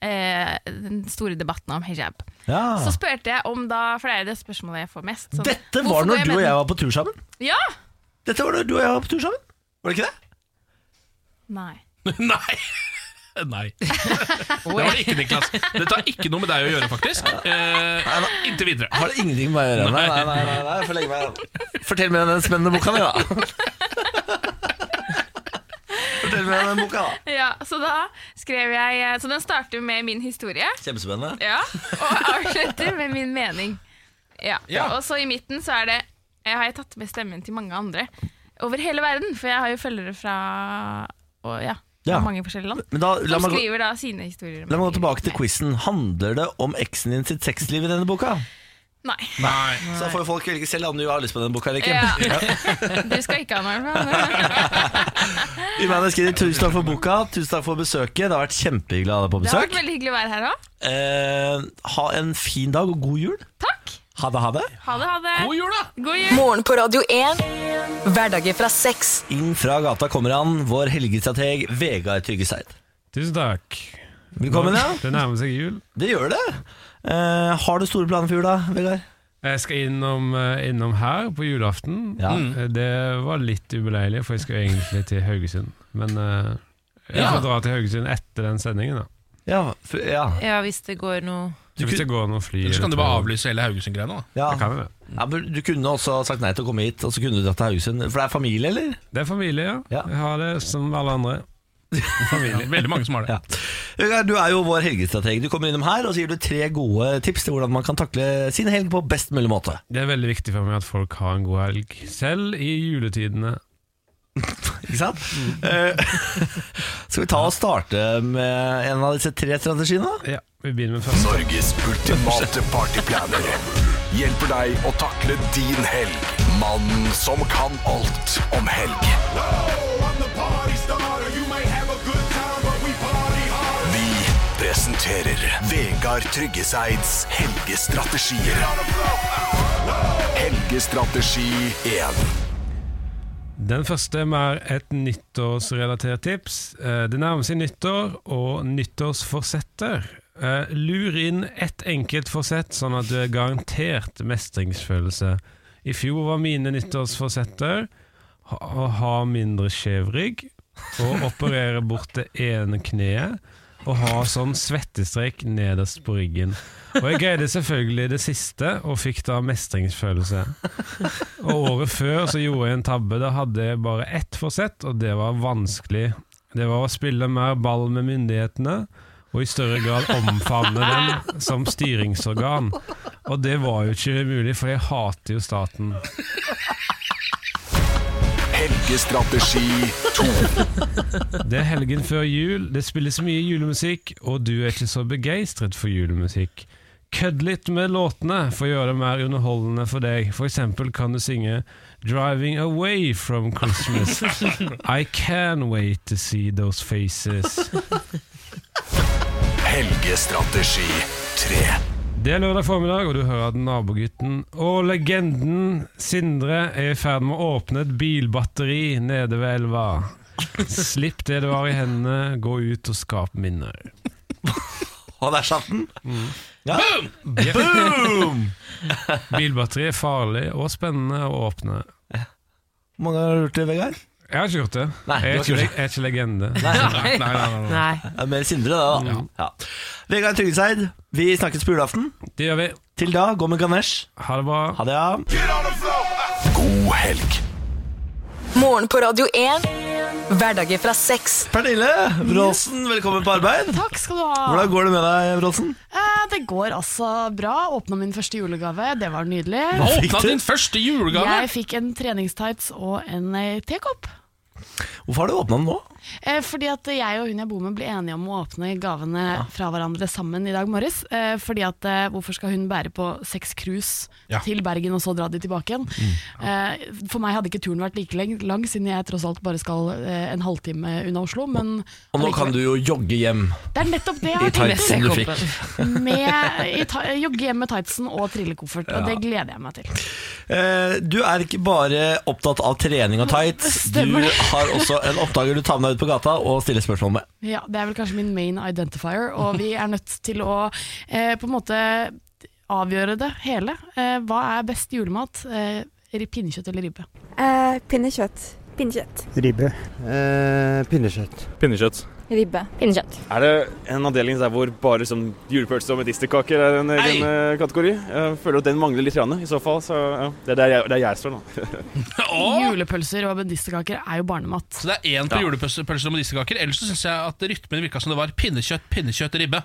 Speaker 9: eh, den store debatten om hijab.
Speaker 1: Ja.
Speaker 9: Så spurte jeg om da For det er det spørsmålet jeg får mest. sånn,
Speaker 1: Ah. Dette
Speaker 9: hvorfor
Speaker 1: var
Speaker 9: går
Speaker 1: når du og
Speaker 9: med
Speaker 1: jeg
Speaker 9: den?
Speaker 1: var på tur sammen.
Speaker 9: Ja!
Speaker 1: Dette var når du og jeg var på tur sammen. Var det ikke det?
Speaker 9: Nei.
Speaker 3: Nei. Nei. Det var det ikke, Niklas. Dette har ikke noe med deg å gjøre, faktisk. Eh, inntil videre.
Speaker 1: Har det ingenting med meg å gjøre? Nei, nei, nei, nei, nei. jeg får legge meg Fortell meg om den spennende boka di, da. Fortell meg om den boka, da.
Speaker 9: Ja, så da skrev jeg eh, Så den starter med min historie.
Speaker 1: Kjempespennende.
Speaker 9: Ja, og avslutter med min mening. Ja.
Speaker 3: Ja.
Speaker 9: Og så i midten så er det jeg har jeg tatt med stemmen til mange andre over hele verden. For jeg har jo følgere fra og, ja, fra
Speaker 1: Ja.
Speaker 9: mange forskjellige land.
Speaker 1: Men da, la
Speaker 9: Som
Speaker 1: meg, gå,
Speaker 9: skriver da sine historier. om
Speaker 1: la meg gå
Speaker 9: livet.
Speaker 1: tilbake til quizen. Handler det om eksen din sitt sexliv i denne boka?
Speaker 9: Nei.
Speaker 3: Nei.
Speaker 1: Så da får jo folk velge selv om du har lyst på denne boka eller ikke.
Speaker 9: Ja. Du skal ikke ha noe men-
Speaker 1: Imane Skiri, tusen takk for boka, tusen takk for besøket. Det har vært kjempehyggelig å ha deg på
Speaker 9: Det har vært
Speaker 1: besøk.
Speaker 9: veldig hyggelig å være her òg.
Speaker 1: Eh, ha en fin dag og god jul.
Speaker 9: Takk.
Speaker 1: Ha det, ha det.
Speaker 9: Ha det, ha det.
Speaker 3: God jul, da!
Speaker 9: God jul.
Speaker 4: Morgen på Radio 1. Hverdager fra seks.
Speaker 1: Inn fra gata kommer han, vår helgestrateg Vegard Tryggeseid.
Speaker 10: Tusen takk.
Speaker 1: Velkommen, ja.
Speaker 10: Det nærmer seg jul.
Speaker 1: Det gjør det. Eh, har du store planer for jula, Vegard?
Speaker 10: Jeg skal innom, eh, innom her på julaften.
Speaker 1: Ja.
Speaker 10: Eh, Det var litt ubeleilig, for jeg skulle egentlig til Haugesund. Men eh, jeg
Speaker 3: Ja.
Speaker 10: får dra til Haugesund etter den sendingen. da
Speaker 1: Ja, f ja.
Speaker 2: Ja, hvis det går noe
Speaker 1: Du
Speaker 10: Hvis det går noen fly
Speaker 3: Ellers kan
Speaker 10: eller
Speaker 3: du bare
Speaker 10: tog.
Speaker 3: avlyse hele Haugesund-greiene. da
Speaker 1: ja.
Speaker 10: Jeg kan jo det.
Speaker 1: ja men du kunne også sagt nei til å komme hit, og så kunne du dratt til Haugesund. For det er familie, eller?
Speaker 10: Det er familie, ja.
Speaker 1: Ja.
Speaker 10: Jeg har det som alle andre.
Speaker 3: Familie. Veldig mange som har det.
Speaker 1: Ja. Vegard, du er jo vår helgestrateg. Du kommer innom her, og så gir du tre gode tips til hvordan man kan takle sin helg på best mulig måte.
Speaker 10: Det er veldig viktig for meg at folk har en god helg, selv i juletidene.
Speaker 1: Ikke sant? Eh, skal vi ta og starte med en av disse tre strategiene? da?
Speaker 10: Ja, Vi begynner med første.
Speaker 11: Norges ultimate partyplaner hjelper deg å takle din helg. Mannen som kan alt om helg. Vi presenterer Vegard Tryggeseids helgestrategier. Helgestrategi 1.
Speaker 10: Den første er mer et nyttårsrelatert tips. Eh, Det nærmer seg nyttår og nyttårsforsetter. Eh, Lur inn ett enkelt forsett, sånn at du er garantert mestringsfølelse. I fjor var mine nyttårsforsetter ha- å ha mindre skjev rygg, og operere bort det ene kneet, og ha sånn svettestrek nederst på ryggen. Og jeg greide selvfølgelig det siste, og fikk da mestringsfølelse. Og året før så gjorde jeg en tabbe. Da hadde jeg bare ett forsett, og det var vanskelig. Det var å spille mer ball med myndighetene, og i større grad omfavne dem som styringsorgan. Og det var jo ikke mulig, for jeg hater jo staten.
Speaker 11: Helgestrategi 2.
Speaker 10: Det er helgen før jul, det spilles mye julemusikk, og du er ikke så begeistret for julemusikk. Kødd litt med låtene for å gjøre det mer underholdende for deg. For eksempel kan du synge 'Driving Away From Christmas'. I can wait to see those faces.
Speaker 11: Helgestrategi 3.
Speaker 12: Det er lørdag formiddag, og du hører at nabogutten og legenden Sindre er i ferd med å åpne et bilbatteri nede ved elva. Slipp det du har i hendene, gå ut og skap minner.
Speaker 1: Og der satt den! Ja. Boom!
Speaker 12: Jepp.
Speaker 1: Boom!
Speaker 12: Bilbatteri er farlig og spennende å åpne.
Speaker 1: Hvor mange har du gjort det, Vegard?
Speaker 12: Jeg har ikke gjort det.
Speaker 1: Nei, du
Speaker 12: jeg, er
Speaker 1: har ikke
Speaker 12: ikke,
Speaker 1: gjort det.
Speaker 12: jeg er ikke legende.
Speaker 1: Nei.
Speaker 12: nei, nei, nei, nei.
Speaker 1: Det er Mer Sindre, det, da. Ja. Vegard Tryggeseid, vi snakkes på julaften.
Speaker 12: Det gjør vi.
Speaker 1: Til da, gå med Ganesh.
Speaker 12: Ha det bra.
Speaker 1: Ha det, ja.
Speaker 13: God helg.
Speaker 4: Morgen på Radio 1. Hverdager fra seks.
Speaker 1: Pernille Bråsen, velkommen på arbeid.
Speaker 9: Takk skal du ha.
Speaker 1: Hvordan går det med deg, Bråsen?
Speaker 9: Eh, det går altså bra. Åpna min første julegave, det var nydelig.
Speaker 3: Hva åpna din første julegave?
Speaker 9: Jeg fikk en treningstights og en eh, tekopp.
Speaker 1: Hvorfor har du åpna den nå?
Speaker 9: Eh, fordi at jeg og hun jeg bor med ble enige om å åpne gavene fra hverandre sammen i dag morges. Eh, fordi at eh, hvorfor skal hun bære på seks cruise
Speaker 14: Ja.
Speaker 9: til Bergen og så dra de tilbake igjen?
Speaker 1: Mm.
Speaker 9: Eh, for meg hadde ikke turen vært like lang, lang siden jeg tross alt bare skal eh, en halvtime unna Oslo. Men
Speaker 1: Og nå kan du jo jogge hjem.
Speaker 9: Det er nettopp det jeg
Speaker 1: I
Speaker 9: har tenkt
Speaker 1: tightsen du
Speaker 9: å
Speaker 1: fikk.
Speaker 9: Med, i ta, jogge hjem med tightsen og trillekoffert, og
Speaker 1: Ja.
Speaker 9: det gleder jeg meg til.
Speaker 1: Eh, Du er ikke bare opptatt av trening og tights. Du
Speaker 9: Stemmer det.
Speaker 1: har også en oppdager du tar med deg ut på gata og stiller spørsmål med.
Speaker 9: Ja, Det er vel kanskje min main identifier, og vi er nødt til å eh, på en måte avgjøre det hele. Eh, hva er best julemat? Eh, ri- pinnekjøtt eller ribbe?
Speaker 7: Uh, pinnekjøtt. Pinnekjøtt.
Speaker 11: Ribbe. Eh, pinnekjøtt. Pinnekjøtt.
Speaker 7: Ribbe. Pinnekjøtt.
Speaker 11: Er det en avdeling der hvor bare liksom, julepølse og medisterkaker er en egen eh, kategori? Jeg føler at den mangler litt. Grann, I så fall, så ja. Det er der jeg, der jeg står nå.
Speaker 9: Julepølser og medisterkaker er jo barnemat.
Speaker 3: Så det er én på julepølser og medisterkaker. Ellers så syns jeg at rytmen virka som det var pinnekjøtt, pinnekjøtt, ribbe.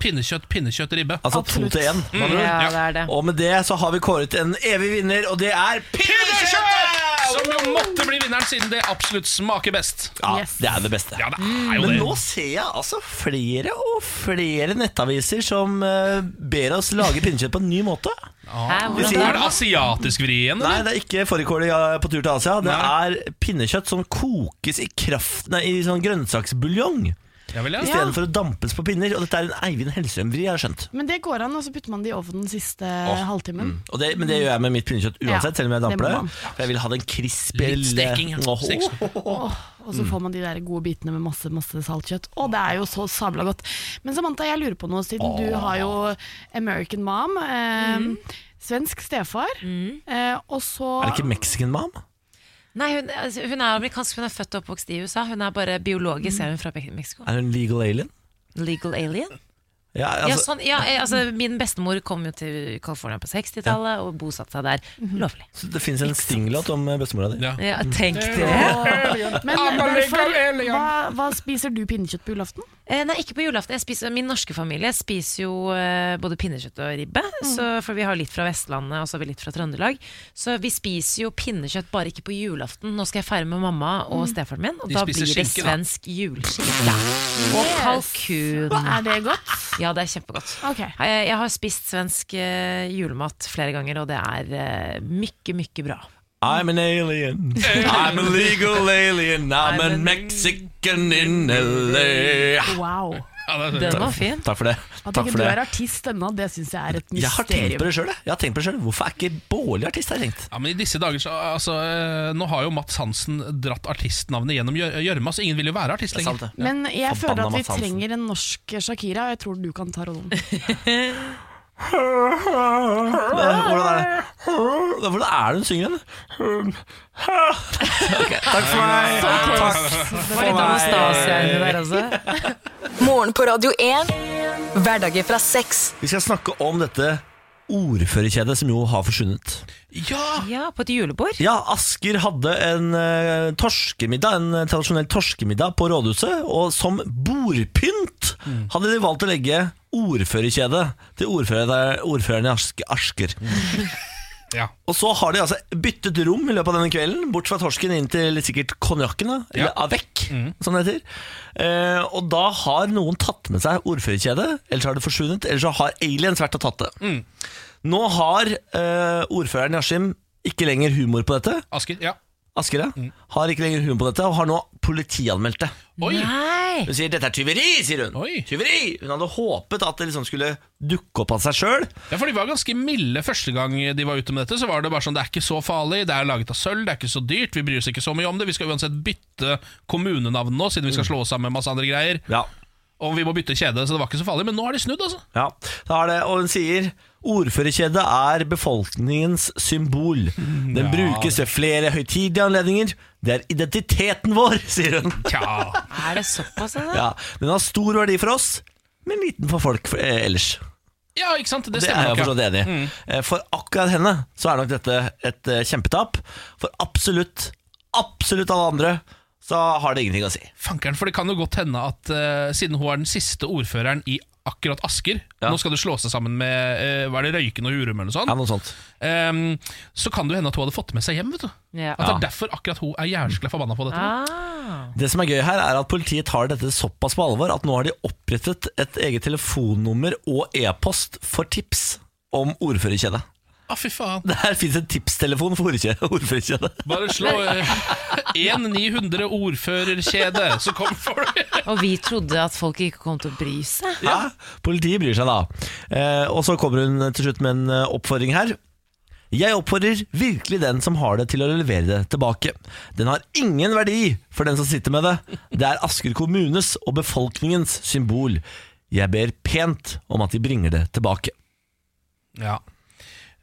Speaker 3: Pinnekjøtt, pinnekjøtt, ribbe. Mm.
Speaker 1: Altså to til én. med andre ord. Og med det så har vi kåret en evig vinner, og det er pinnekjøttet!
Speaker 3: Som jo måtte bli vinneren, siden det absolutt smaker best.
Speaker 1: Ja, det er det beste.
Speaker 3: Ja, det er jo
Speaker 1: Men
Speaker 3: det.
Speaker 1: nå ser jeg altså flere og flere nettaviser som eh, ber oss lage pinnekjøtt på en ny måte.
Speaker 3: Ah.
Speaker 1: De sier-
Speaker 3: Er det asiatisk vri igjen,
Speaker 1: Nei, det er ikke fårikål i- eh, på tur til Asia. Det er pinnekjøtt som kokes i kraft Nei, i sånn grønnsaksbuljong.
Speaker 3: Ja, vel, ja. Ja.
Speaker 1: Istedenfor å dampes på pinner. Og dette er en Eivind Hellstrøm-vri, har jeg skjønt.
Speaker 9: Men det går an, og så putter man det i ovnen siste halvtimen.
Speaker 1: Og det, men det gjør jeg med mitt pinnekjøtt uansett,
Speaker 9: Ja,
Speaker 1: selv om jeg
Speaker 9: det
Speaker 1: damper
Speaker 9: må
Speaker 1: det.
Speaker 9: man.
Speaker 1: For jeg vil ha den krispel
Speaker 3: Litt steking, ja.
Speaker 1: Åh,
Speaker 3: Stek sånn.
Speaker 9: Åh, og
Speaker 1: Mm.
Speaker 9: så får man de der gode bitene med masse masse saltkjøtt. Å, det er jo så sabla godt. Men Samantha, jeg lurer på noe, siden du har jo American Mom. Eh, Svensk stefar. Eh, og så
Speaker 1: Er det ikke Mexican mom?
Speaker 2: Nei, hun, altså, hun er amerikansk, hun er født og oppvokst i USA. Hun er bare biologisk, er hun fra Be- Mexico.
Speaker 1: Er hun legal alien?
Speaker 2: Legal alien?
Speaker 1: Ja,
Speaker 2: ja,
Speaker 1: altså,
Speaker 2: sånn, ja, eh, altså, min bestemor kom jo til California på 60-tallet og bosatte seg der.
Speaker 9: Mhm.
Speaker 2: Lovlig.
Speaker 1: så det fins en stinglåt om eh, bestemora di.
Speaker 2: Ja, tenk det!
Speaker 9: Men derfor, hva, hva spiser du pinnekjøtt på julaften?
Speaker 2: Eh, Nei, ikke på julaften. Jeg spiser, min norske familie spiser jo eh, både pinnekjøtt og ribbe.
Speaker 14: Mm.
Speaker 2: Så, for vi har litt fra Vestlandet og så har vi litt fra Trøndelag. Så vi spiser jo pinnekjøtt, bare ikke på julaften. Nå skal jeg feire med mamma og stefaren min, og
Speaker 14: Mm. De
Speaker 2: da
Speaker 14: spiser
Speaker 2: blir det
Speaker 14: skinke, da.
Speaker 2: svensk juleskinke. Og kalkun.
Speaker 9: Er det godt?
Speaker 2: Ja, det er kjempegodt.
Speaker 9: Ok.
Speaker 2: Jeg, jeg har spist svensk eh, julemat flere ganger, og det er eh, mykke, mykke bra.
Speaker 1: I'm an alien. I'm a legal alien. I'm a Mexican in LA.
Speaker 9: Wow.
Speaker 2: Den var fin.
Speaker 1: Takk for det.
Speaker 9: At
Speaker 1: Takk
Speaker 9: ikke
Speaker 1: for
Speaker 9: du
Speaker 1: det.
Speaker 9: er artist ennå, det syns jeg er et mysterium.
Speaker 1: Jeg har tenkt på det sjøl. Jeg har tenkt på det selv. Hvorfor er ikke Bårli artist? har jeg tenkt?
Speaker 3: Ja, men i disse dager, så, altså, eh, Nå har jo Mats Hansen dratt artistnavnet gjennom gjør- gjørma, så ingen vil jo være artist lenger.
Speaker 9: Men jeg føler at vi trenger en norsk Shakira, og jeg tror du kan ta rollen.
Speaker 1: Hvordan er det? Hvordan er det hun synger den? Ok, takk for meg.
Speaker 4: Det var litt Anastasia inni der, Morgen på Radio 1. Hverdager fra seks.
Speaker 1: Vi skal snakke om dette ordførerkjedet som jo har forsvunnet.
Speaker 3: Ja!
Speaker 2: på et julebord.
Speaker 1: Ja, Asker hadde en eh, torskemiddag, en eh, tradisjonell torskemiddag på rådhuset, og som bordpynt hadde de valgt å legge ordførerkjedet til ordfører, ordføreren i Ask- Asker.
Speaker 3: Ja.
Speaker 1: Og så har de altså byttet rom i løpet av denne kvelden, bort fra torsken inn til sikkert konjakken, da, eller avec, som det heter. Eh, og da har noen tatt med seg ordførerkjedet, ellers har det forsvunnet, eller så har aliens vært og tatt det. Nå har eh, ordføreren i Askim ikke lenger humor på dette.
Speaker 3: Asker, ja.
Speaker 1: Asker, ja. Har ikke lenger humor på dette, og har nå politianmeldt det.
Speaker 3: Oi!
Speaker 2: Nei! Nei.
Speaker 1: Hun sier 'dette er tyveri', sier hun. Tyveri! Hun hadde håpet at det liksom skulle dukke opp av seg sjøl.
Speaker 3: Ja, for De var ganske milde første gang de var ute med dette. Så var det bare sånn, det er ikke så farlig, det er laget av sølv, det er ikke så dyrt, vi bryr oss ikke så mye om det. Vi skal uansett bytte kommunenavn nå, siden vi
Speaker 1: Mm.
Speaker 3: skal slå oss sammen med masse andre greier. Og vi må bytte kjede, så det var ikke så farlig. Men nå har de snudd, altså.
Speaker 1: Ja, da er det, og hun sier Ordførerkjedet er befolkningens symbol. Den
Speaker 3: Ja.
Speaker 1: brukes ved flere høytidelige anledninger. Det er identiteten vår, sier hun.
Speaker 2: Er det såpass, altså?
Speaker 1: Ja, den har stor verdi for oss, men liten for folk eh, ellers.
Speaker 3: Ja, ikke sant? Det
Speaker 1: Det
Speaker 3: stemmer
Speaker 1: er jeg
Speaker 3: nok,
Speaker 1: forstått
Speaker 3: ja.
Speaker 1: enig i.
Speaker 3: Mm.
Speaker 1: Eh, For akkurat henne så er nok dette et eh, kjempetap. For absolutt, absolutt alle andre så har det ingenting å si.
Speaker 3: Fankeren, for det kan jo godt hende at eh, siden hun er den siste ordføreren i akkurat Asker Nå skal du slå seg sammen med eh, Hva er det, Røyken og Hurum eller noe sånt?
Speaker 1: Ja, noe sånt.
Speaker 3: Ehm, så kan det jo hende at hun hadde fått med seg hjem. vet du
Speaker 2: Ja.
Speaker 3: At det
Speaker 1: Ja.
Speaker 3: er derfor akkurat hun er jævskla forbanna på dette.
Speaker 2: Ah.
Speaker 1: Det som er gøy her er at Politiet tar dette såpass på alvor at nå har de opprettet et eget telefonnummer og e-post for tips om ordførerkjedet.
Speaker 3: Ah, fy faen
Speaker 1: Der fins en tipstelefon for ordkje- ordførerkjedet.
Speaker 3: Bare slå eh, 1900 ordførerkjede, så kom folk.
Speaker 2: Og vi trodde at folk ikke kom til å bry seg.
Speaker 1: Ja, Politiet bryr seg da. Eh, og så kommer hun til slutt med en eh, oppfordring her. Jeg oppfordrer virkelig den som har det til å levere det tilbake. Den har ingen verdi for den som sitter med det. Det er Asker kommunes og befolkningens symbol. Jeg ber pent om at de bringer det tilbake.
Speaker 3: Ja.
Speaker 1: Mm.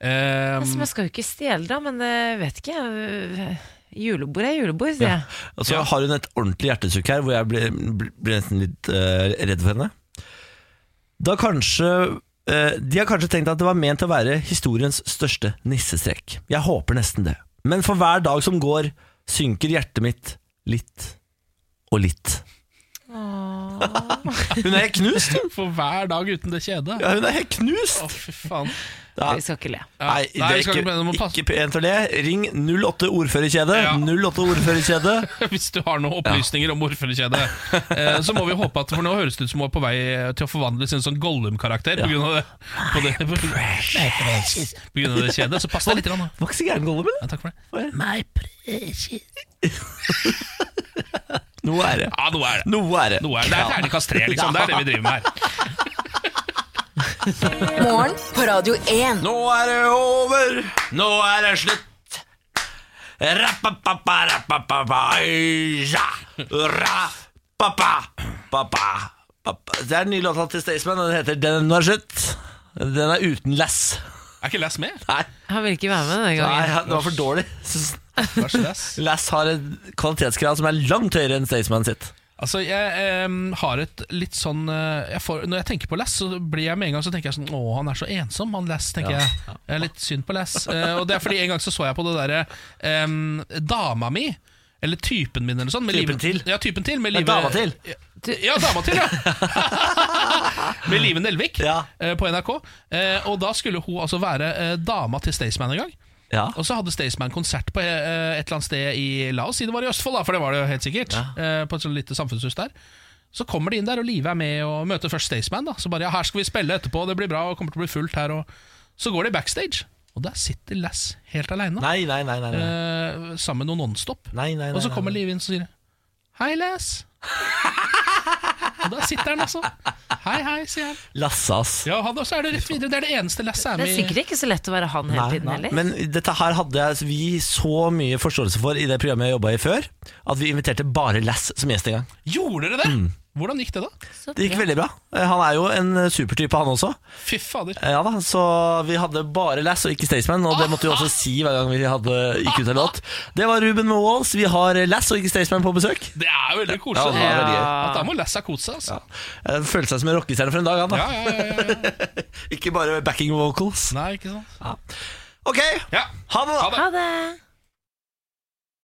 Speaker 3: Ehm,
Speaker 2: Altså, man skal jo ikke stjele, da, men det vet ikke jeg. Eh, Julebord er julebord, sier jeg.
Speaker 1: Og så har hun et ordentlig hjertesukk her hvor jeg ble, ble, ble nesten litt eh, redd for henne. Da kanskje eh, De har kanskje tenkt at det var ment å være historiens største nissestrek. Jeg håper nesten det. Men for hver dag som går, synker hjertet mitt litt og litt. Hun er helt knust!
Speaker 3: For hver dag uten det kjedet.
Speaker 1: Ja, hun er helt knust!
Speaker 3: Å, fy faen.
Speaker 1: Ja.
Speaker 2: Vi skal ikke le.
Speaker 3: Ja.
Speaker 1: Nei, det
Speaker 3: Nei,
Speaker 1: er
Speaker 3: vi skal
Speaker 1: ikke,
Speaker 3: ikke blande, må passe.
Speaker 1: ikke pent å le. Ring 08 ordførerkjede. 08 ordførerkjede.
Speaker 3: Hvis du har noen opplysninger om ordførerkjedet, eh, så må vi håpe at For nå høres det ut som hun er på vei til å forvandles til en sånn Gollum-karakter på grunn av det, på det, på, på grunn av det kjedet. Så pass deg litt. Grann, da.
Speaker 1: Det var ikke så gæren Gollum,
Speaker 3: Ja, takk for det.
Speaker 15: My precious.
Speaker 1: Noe er det.
Speaker 3: Ja, noe er det.
Speaker 1: Noe er det.
Speaker 3: Noe er det. det er terningkast tre, liksom. Det er det vi driver med her.
Speaker 4: Morgen på Radio 1.
Speaker 1: Nå er det over! Nå er det slutt! Rappapapa, rappapapa, ja. Rappapa, papa, papa. Det er den nye låta til Staysman, og den heter 'Den nå er slutt'. Den er uten lass.
Speaker 3: Er ikke lass med?
Speaker 1: Nei,
Speaker 2: Han vil ikke være med denne
Speaker 1: Nei
Speaker 2: gangen.
Speaker 1: det var for dårlig. Lass har et kvalitetskrav som er langt høyere enn Staysman sitt.
Speaker 3: Altså, jeg em, har et litt sånn eh, jeg får, Når jeg tenker på Lass, så blir jeg med en gang Så tenker jeg sånn Å, han er så ensom, han Lass, tenker
Speaker 1: Ja.
Speaker 3: jeg. Jeg er litt synd på Lass. Eh, og det er fordi en gang så så jeg på det derre em, Dama mi. Eller typen min, eller sånn. med
Speaker 1: Typen
Speaker 3: livet- Ja, typen til. Med
Speaker 1: Ja,
Speaker 3: livet-
Speaker 1: dama til.
Speaker 3: Ja, dama til, ja! med Live Nelvik eh, på NRK. Eh, og da skulle hun altså være eh, dama til Staysman en gang.
Speaker 1: Ja.
Speaker 3: Og så hadde Staysman konsert på eh, et eller annet sted i La oss si det var i Østfold, da, for det var det jo helt sikkert. eh, På et sånt lite samfunnshus der. Så kommer de inn der, og Live er med og møter først Staysman. da. Så bare ja, her skal vi spille etterpå, det blir bra, og kommer til å bli fullt her. Og så går de backstage, og der sitter Lass helt aleine.
Speaker 1: Nei, nei, nei, nei, nei.
Speaker 3: Eh, sammen med noen Nonstop.
Speaker 1: Nei, nei, nei,
Speaker 3: og så
Speaker 1: nei,
Speaker 3: kommer Liv inn og sier Hei, Lass. og der sitter han, altså. Hei, hei, sier han.
Speaker 1: Lassas.
Speaker 3: Ja, han også er det rett videre. Det er det eneste Lass er
Speaker 2: Det
Speaker 3: med
Speaker 2: er
Speaker 3: i.
Speaker 2: sikkert ikke så lett å være han hele
Speaker 1: Nei,
Speaker 2: tiden heller.
Speaker 1: Men dette her hadde jeg- vi så mye forståelse for i det programmet jeg jobba i før, at vi inviterte bare Lass som gjest en gang.
Speaker 3: Gjorde dere det?
Speaker 1: Mm.
Speaker 3: Hvordan gikk det, da?
Speaker 1: Det gikk veldig bra. Eh, Han er jo en eh, supertype, han også.
Speaker 3: Fy fader.
Speaker 1: Eh, Ja da, Så vi hadde bare Lass og ikke Staysman, og det måtte vi også si hver gang vi hadde gikk ut en låt. Det var Ruben Moales. Vi har eh, Lass og ikke Staysman på besøk.
Speaker 3: Det er jo veldig
Speaker 1: Ja,
Speaker 3: koselig.
Speaker 1: det er veldig gøy.
Speaker 3: At da må Lassa kose seg. Altså.
Speaker 1: Eh, Følte seg som en rockestjerne for en dag, han da. ikke bare backing vocals.
Speaker 3: Nei, ikke sant
Speaker 1: Ok, ha det, da.
Speaker 2: Ha det!